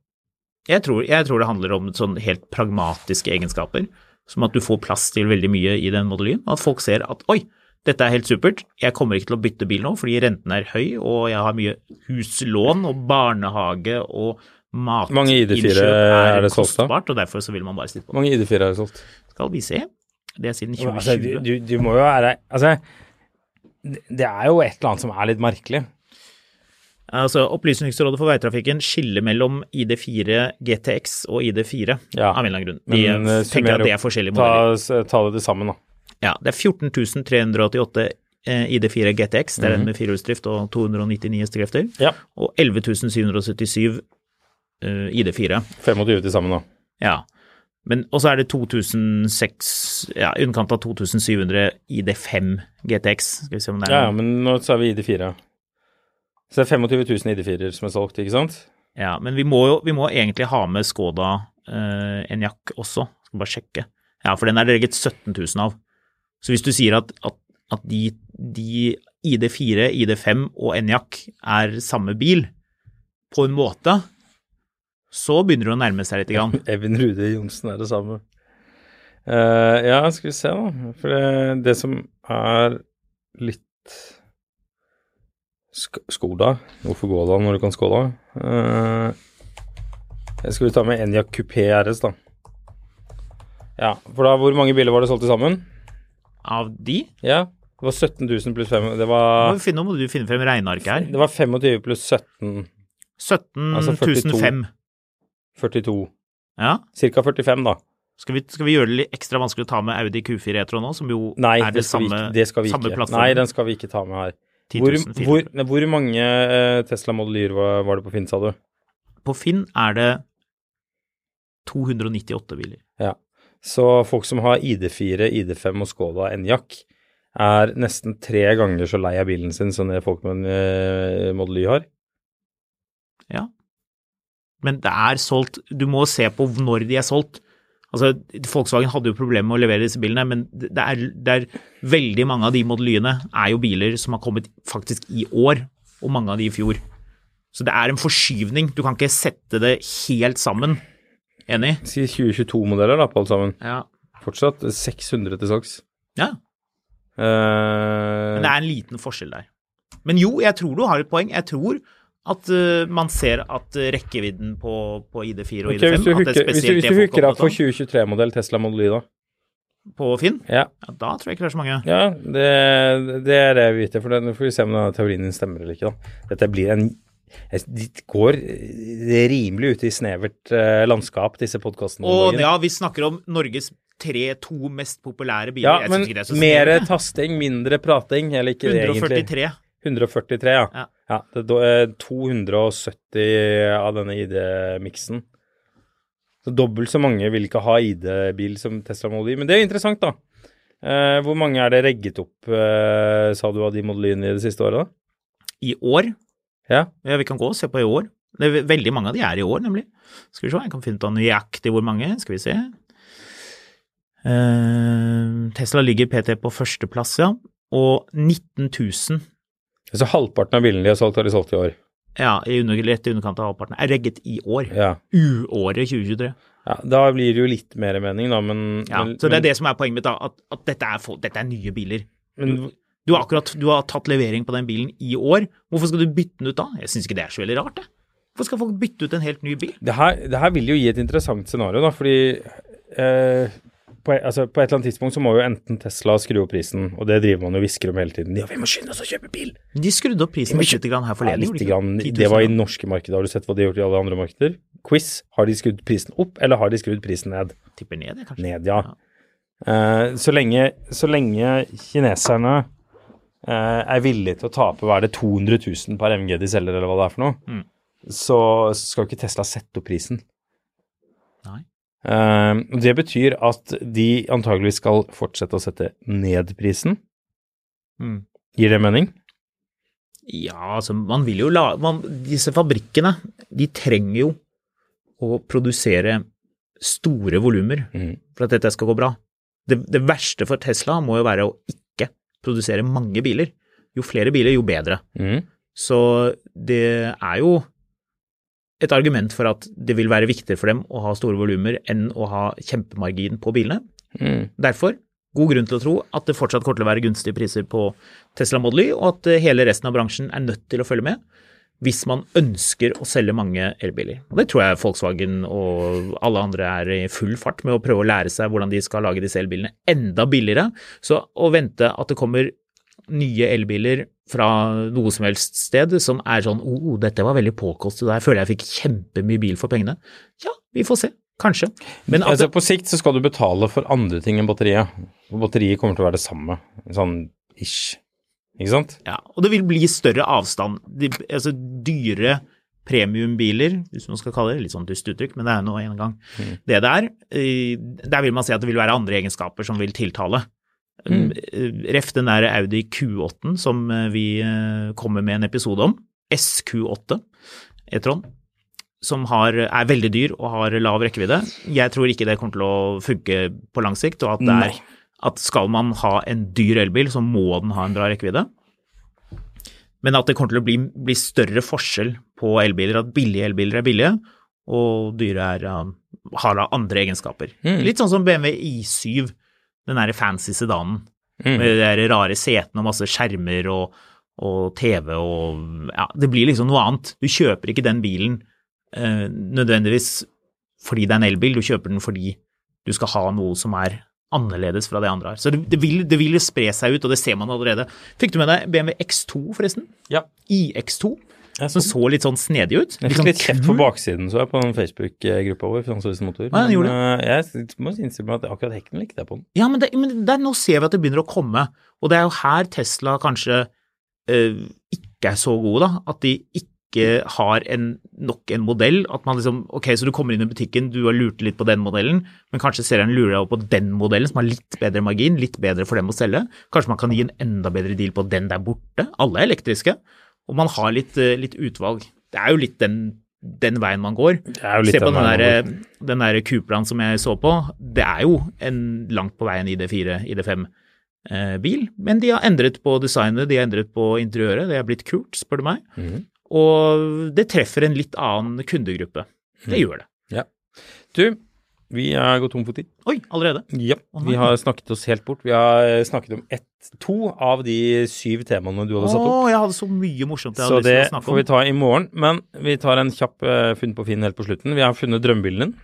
S2: jeg tror, jeg tror det handler om sånn helt pragmatiske egenskaper. Som at du får plass til veldig mye i den modellyen. og At folk ser at oi, dette er helt supert, jeg kommer ikke til å bytte bil nå fordi renten er høy og jeg har mye huslån og barnehage og matinnkjøp
S3: Mange ID4 er det solgt av?
S2: kostbart, og derfor så vil man bare sitte på
S3: Hvor mange ID4 er det solgt?
S2: det. Skal vi se. Det er siden
S3: Altså, du,
S2: 2020.
S3: du, du må jo være Altså, det det er jo et eller annet som er litt merkelig.
S2: Altså, Opplysningsrådet for veitrafikken skiller mellom ID4 GTX og ID4
S3: Ja.
S2: av en eller annen grunn. De
S3: Men, eh,
S2: tenker
S3: summer
S2: at det
S3: opp.
S2: er forskjellige modeller.
S3: Ta, s- ta det til sammen, da.
S2: Ja, det er 14.388 eh, ID4 GTX, det er
S3: Mhm.
S2: den med firehjulsdrift og 299 hestekrefter,
S3: Ja.
S2: og 11.777 eh, ID4.
S3: 25 til sammen, da.
S2: Ja. Men, og så er det 2006, ja, i underkant av 2700 ID5 GTX. Skal vi se om det er
S3: Ja, ja, men nå så er vi ID4. Så det er 25 000 ID4-er som er solgt, ikke sant?
S2: Ja, men vi må jo vi må egentlig ha med Skoda eh, Enyaq også. Skal bare sjekke. Ja, for den er det regget 17 000 av. Så hvis du sier at, at, at de, de ID4, ID5 og Enyaq er samme bil, på en måte, Så begynner det å nærme seg litt. Grann.
S3: Evin Rude Johnsen er det samme. Eh, ja, skal vi se, da. For det, det som er litt sk Skoda Hvorfor gå da når du kan skåla? Eh, skal vi ta med Enya Coupé RS, da. Ja, for da, hvor mange biler var det solgt til sammen?
S2: Av de
S3: Ja, det var 17 000 pluss 5 Det
S2: må,
S3: var,
S2: vi finne, må du finne frem regnearket her.
S3: det var 25 pluss 17 Altså 42.
S2: 17.005.
S3: 42.
S2: Ja.
S3: Ca. 45, da.
S2: Skal vi, skal vi gjøre det litt ekstra vanskelig å ta med Audi Q4 Etro nå, som jo
S3: Nei,
S2: er
S3: det,
S2: det,
S3: skal
S2: samme,
S3: vi ikke. Det skal vi
S2: samme
S3: ikke.
S2: plattformen?
S3: Nei, den skal vi ikke ta med her. Hvor,
S2: 10.400.
S3: hvor, nei, hvor mange eh, Tesla Model Y var, var det på Finn, sa du?
S2: På Finn er det 298 biler.
S3: Ja. Så folk som har ID4, ID5 og Skoda Enyaq, er nesten tre ganger så lei av bilen sin som det folk med en eh, Model Y har.
S2: Ja. Men det er solgt Du må se på når de er solgt. Altså, Volkswagen hadde jo problemer med å levere disse bilene, men det er, det er veldig mange av de modellyene er jo biler som har kommet faktisk i år, og mange av de i fjor. Så det er en forskyvning. Du kan ikke sette det helt sammen. Enig?
S3: Si 2022-modeller, da, på alt sammen.
S2: Ja.
S3: Fortsatt 600 til salgs.
S2: ja.
S3: Eh,
S2: Men det er en liten forskjell der. Men jo, jeg tror du har et poeng. Jeg tror at eh, man ser at eh, rekkevidden på, på ID4 og
S3: ok, hvis
S2: ID5
S3: du
S2: at det
S3: hooker-
S2: er
S3: hvis du-
S2: spesielt
S3: Hvis du
S2: det folk
S3: hooker opp
S2: opptatt
S3: for
S2: av
S3: 2023-modell Tesla Model Y, da.
S2: på Finn,
S3: Ja,
S2: ja, da tror jeg ikke det er så mange.
S3: ja det, det er det jeg vet. For den- Nå får vi se om denne teorien din stemmer eller ikke. da. Dette blir en Det går rimelig ute i snevert eh, landskap, disse podkastene.
S2: Og ja, vi snakker om Norges tre-to mest populære biler.
S3: ja,
S2: Jeg
S3: men
S2: synes ikke det er så
S3: mer
S2: snevert.
S3: tasting, mindre prating, eller ikke det egentlig?
S2: 143.
S3: 143, ja.
S2: Ja.
S3: ja. det er da- eh, 270 av denne ID-miksen. Så dobbelt så mange vil ikke ha ID-bil som Tesla Model Y. Men det er jo interessant, da. Eh, hvor mange er det regget opp, eh, sa du, av de Model Y-ene i det siste året, da?
S2: I år.
S3: Ja.
S2: Ja, vi kan gå og se på i år. Det er ve- veldig mange av de er i år, nemlig. Skal vi se, jeg kan finne ut av nøyaktig hvor mange. Skal vi se. Eh, Tesla ligger PT på førsteplass, ja. Og 19 000,
S3: Så halvparten av bilene de har solgt, har de solgt i år.
S2: ja, i under, rett i underkant av halvparten, er regget i år.
S3: Ja.
S2: Uåret 2023.
S3: ja. Da blir det jo litt mer mening, da, men
S2: Ja,
S3: men,
S2: så det er
S3: men,
S2: det som er poenget mitt, da, at, at dette, er, folk- dette er nye biler.
S3: Men,
S2: Du har akkurat du har tatt levering på den bilen i år. Hvorfor skal du bytte den ut da? Jeg syns ikke det er så veldig rart, jeg. Hvorfor skal folk bytte ut en helt ny bil?
S3: det, her, det her vil jo gi et interessant scenario, da, fordi eh, på, e- altså, på et eller annet tidspunkt så må jo enten Tesla skru opp prisen, og det driver man jo og hvisker om hele tiden. Ja, vi må skynde oss å kjøpe bil!
S2: De skrudde opp prisen litt grann her
S3: Ja,
S2: forleden.
S3: litt
S2: gjorde de ikke?
S3: grann,
S2: 10 000,
S3: det var i
S2: ja.
S3: norske markedet. Har du sett hva de har gjort i alle andre markeder? Quiz. Har de skrudd prisen opp, eller har de skrudd prisen ned?
S2: Tipper ned, jeg, kanskje.
S3: Ned, ja. Eh, så, lenge, så lenge kineserne eh, er villige til å tape hva er det 200 000 per MG de selger, eller hva det er for noe,
S2: Mm.
S3: så skal jo ikke Tesla sette opp prisen.
S2: Nei.
S3: Eh, og det betyr at de antageligvis skal fortsette å sette ned prisen.
S2: Mm.
S3: Gir det mening?
S2: Ja, altså, man vil jo la man, Disse fabrikkene, de trenger jo å produsere store volumer
S3: Mhm.
S2: for at dette skal gå bra. Det, det verste for Tesla må jo være å ikke produsere mange biler. Jo flere biler, jo bedre.
S3: Mm.
S2: Så det er jo et argument for at det vil være viktigere for dem å ha store volumer enn å ha kjempemargin på bilene.
S3: Mm.
S2: Derfor god grunn til å tro at det fortsatt kommer til å være gunstige priser på Tesla Model Y, og at eh, hele resten av bransjen er nødt til å følge med hvis man ønsker å selge mange elbiler. Og Det tror jeg Volkswagen og alle andre er i full fart med å prøve å lære seg hvordan de skal lage disse elbilene enda billigere. Så å vente at det kommer nye elbiler fra noe som helst sted som er sånn oh, dette var veldig påkostet, jeg føler jeg fikk kjempemye bil for pengene. Ja, vi får se. Kanskje. Men at
S3: altså, på sikt så skal du betale for andre ting enn batteriet. Og batteriet kommer til å være det samme. Sånn ish. Ikke sant?
S2: Ja, og det vil bli større avstand. De, altså dyre premiumbiler, hvis man skal kalle det litt sånn dust uttrykk, men det er nå en gang det det er. eh, Der vil man se at det vil være andre egenskaper som vil tiltale. Eh, Ref den der Audi Q8 som eh, vi eh, kommer med en episode om, SQ8 E-tron, som har, er veldig dyr og har lav rekkevidde. Jeg tror ikke det kommer til å funke på lang sikt, og at, det er, at skal man ha en dyr elbil, så må den ha en bra rekkevidde. Men at det kommer til å bli, bli større forskjell på elbiler, at billige elbiler er billige, og dyret er, um, har da andre egenskaper.
S3: Mm.
S2: Litt sånn som BMW i7, den derre fancy sedanen
S3: Mm.
S2: med de der rare setene og masse skjermer og, og TV og Ja, det blir liksom noe annet. Du kjøper ikke den bilen eh, nødvendigvis fordi det er en elbil, du kjøper den fordi du skal ha noe som er annerledes fra det andre har. Så det, det, vil, det vil jo spre seg ut, og det ser man allerede. Fikk du med deg BMW X2, forresten?
S3: Ja.
S2: IX2,
S3: Jeg
S2: som så litt sånn snedig ut.
S3: Jeg
S2: Litt
S3: fikk
S2: sånn
S3: litt kjeft på
S2: kul.
S3: baksiden, så jeg, på den Facebook-gruppa vår. Finansavisen Motor.
S2: Nei, den gjorde
S3: Men, eh, jeg må innstille meg at akkurat hekken likte jeg på den.
S2: Ja, men, det, men der, nå ser vi at det begynner å komme, og det er jo her Tesla kanskje eh, ikke er så gode, da. At de ikke har en, nok en modell. At man liksom Ok, så du kommer inn i butikken, du har lurt litt på den modellen, men kanskje selgeren lurer deg over på den modellen som har litt bedre margin, litt bedre for dem å selge. Kanskje man kan gi en enda bedre deal på den der borte. Alle er elektriske, og man har litt, eh, litt utvalg. Det er jo litt den, den veien man går.
S3: Det er jo litt
S2: Se på
S3: av
S2: den
S3: meg,
S2: der, eh, den der Cupraen som jeg så på. Det er jo en langt på vei en ID4, ID5-bil, men de har endret på designet, de har endret på interiøret. Det er blitt kult, spør du meg.
S3: Mhm.
S2: Og det treffer en litt annen kundegruppe.
S3: Mhm.
S2: Det gjør det.
S3: Du, vi er gått tom for tid.
S2: Oi, allerede.
S3: eh, Ja,
S2: Å,
S3: vi
S2: nei.
S3: har snakket oss helt bort. Vi har eh, snakket om ett, to av de syv temaene du
S2: Å,
S3: hadde satt opp.
S2: jeg hadde så mye morsomt jeg
S3: Så
S2: hadde lyst til
S3: det
S2: å snakke
S3: får vi
S2: om.
S3: ta i morgen. Men vi tar en kjapp eh, funn på Finn helt på slutten. Vi har funnet drømmebilen din.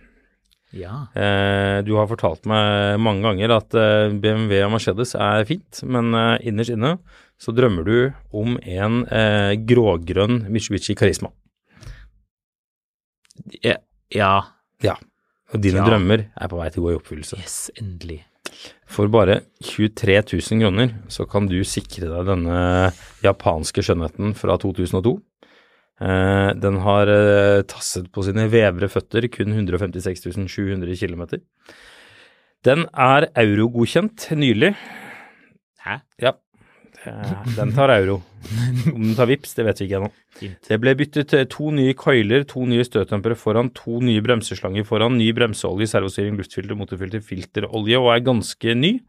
S2: Ja.
S3: Eh, du har fortalt meg mange ganger at eh, BMW og Mercedes er fint, men eh, innerst inne så drømmer du om en eh, grågrønn Mitsubishi Karisma.
S2: Ja, ja.
S3: Og dine
S2: Ja.
S3: drømmer er på vei til å gå i oppfyllelse.
S2: Yes, endelig.
S3: For bare 23 000 kroner så kan du sikre deg denne japanske skjønnheten fra 2002. Eh, den har eh, tasset på sine vevre føtter kun 156 700 km. Den er eurogodkjent nylig.
S2: Hæ?
S3: Ja, det- Eh, den tar euro. Om den tar vips, det vet vi ikke ennå.
S2: Fint.
S3: Det ble byttet eh, to nye køyler, to nye støtdempere foran, to nye bremseslanger foran, ny bremseolje, servostyring, luftfilter, motorfilter, filterolje og er ganske ny.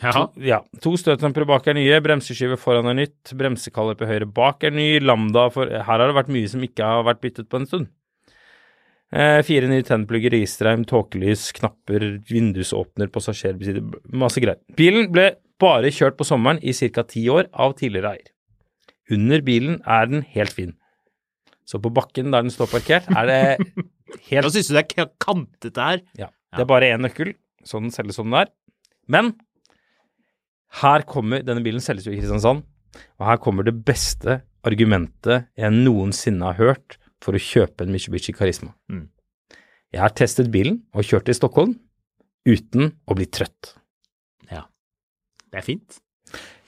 S2: Jaha.
S3: To, ja. To støtdempere bak er nye, bremseskive foran er nytt, bremsekaller på høyre bak er ny, Lambda for Her har det vært mye som ikke har vært byttet på en stund. Eh, fire nye tennplugger, isreim, tåkelys, knapper, vindusåpner, passasjerbesider, b- masse greier. Bilen ble bare kjørt på sommeren i ca. ti år av tidligere eier. Under bilen er den helt fin. Så på bakken der den står parkert, er det helt
S2: Da syns du det er k- kantete her.
S3: ja. Det er bare én nøkkel, så den selges som den er. Men her kommer Denne bilen selges jo i Kristiansand, og her kommer det beste argumentet jeg noensinne har hørt for å kjøpe en Mitsubishi Karisma.
S2: Mm.
S3: Jeg har testet bilen og kjørt til Stockholm uten å bli trøtt.
S2: Det er fint.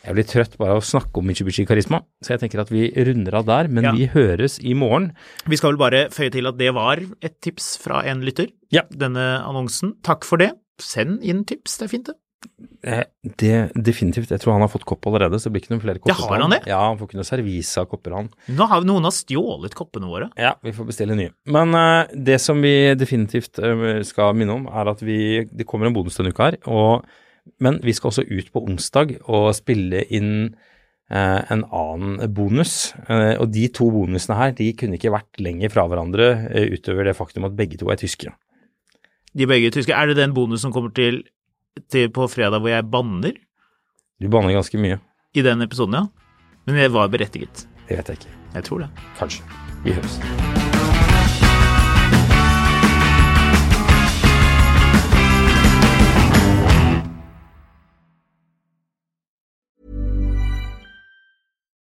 S3: Jeg blir trøtt bare av å snakke om Mitsubishi Karisma, så jeg tenker at vi runder av der, men
S2: Ja.
S3: vi høres i morgen.
S2: Vi skal vel bare føye til at det var et tips fra en lytter,
S3: Ja.
S2: denne annonsen. Takk for det. Send inn tips, det er fint det.
S3: Eh, Det, definitivt. Jeg tror han har fått kopp allerede, så det blir ikke noen flere kopper.
S2: Ja, har
S3: til
S2: han det?
S3: Ja, han får ikke noe servise av kopper, han.
S2: Nå har noen har stjålet koppene våre.
S3: Ja, vi får bestille nye. Men eh, det som vi definitivt eh, skal minne om, er at vi, det kommer en bonus denne uka her. Og, men vi skal også ut på onsdag og spille inn eh, en annen bonus. Eh, og de to bonusene her de kunne ikke vært lenger fra hverandre eh, utover det faktum at begge to er tyskere.
S2: De begge tyske. Er det den bonusen som kommer til, til på fredag hvor jeg banner?
S3: Du banner ganske mye.
S2: I den episoden, ja. Men jeg var berettiget.
S3: Det vet jeg ikke.
S2: Jeg tror det.
S3: Kanskje. Vi høres.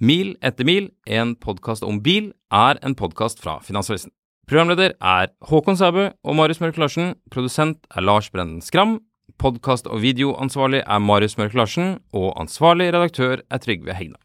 S4: Mil etter mil, en podkast om bil, er en podkast fra Finansavisen. Programleder er Håkon Sæbø og Marius Mørk Larsen. Produsent er Lars Brenden Skram. Podkast- og videoansvarlig er Marius Mørk Larsen. Og ansvarlig redaktør er Trygve Hegna.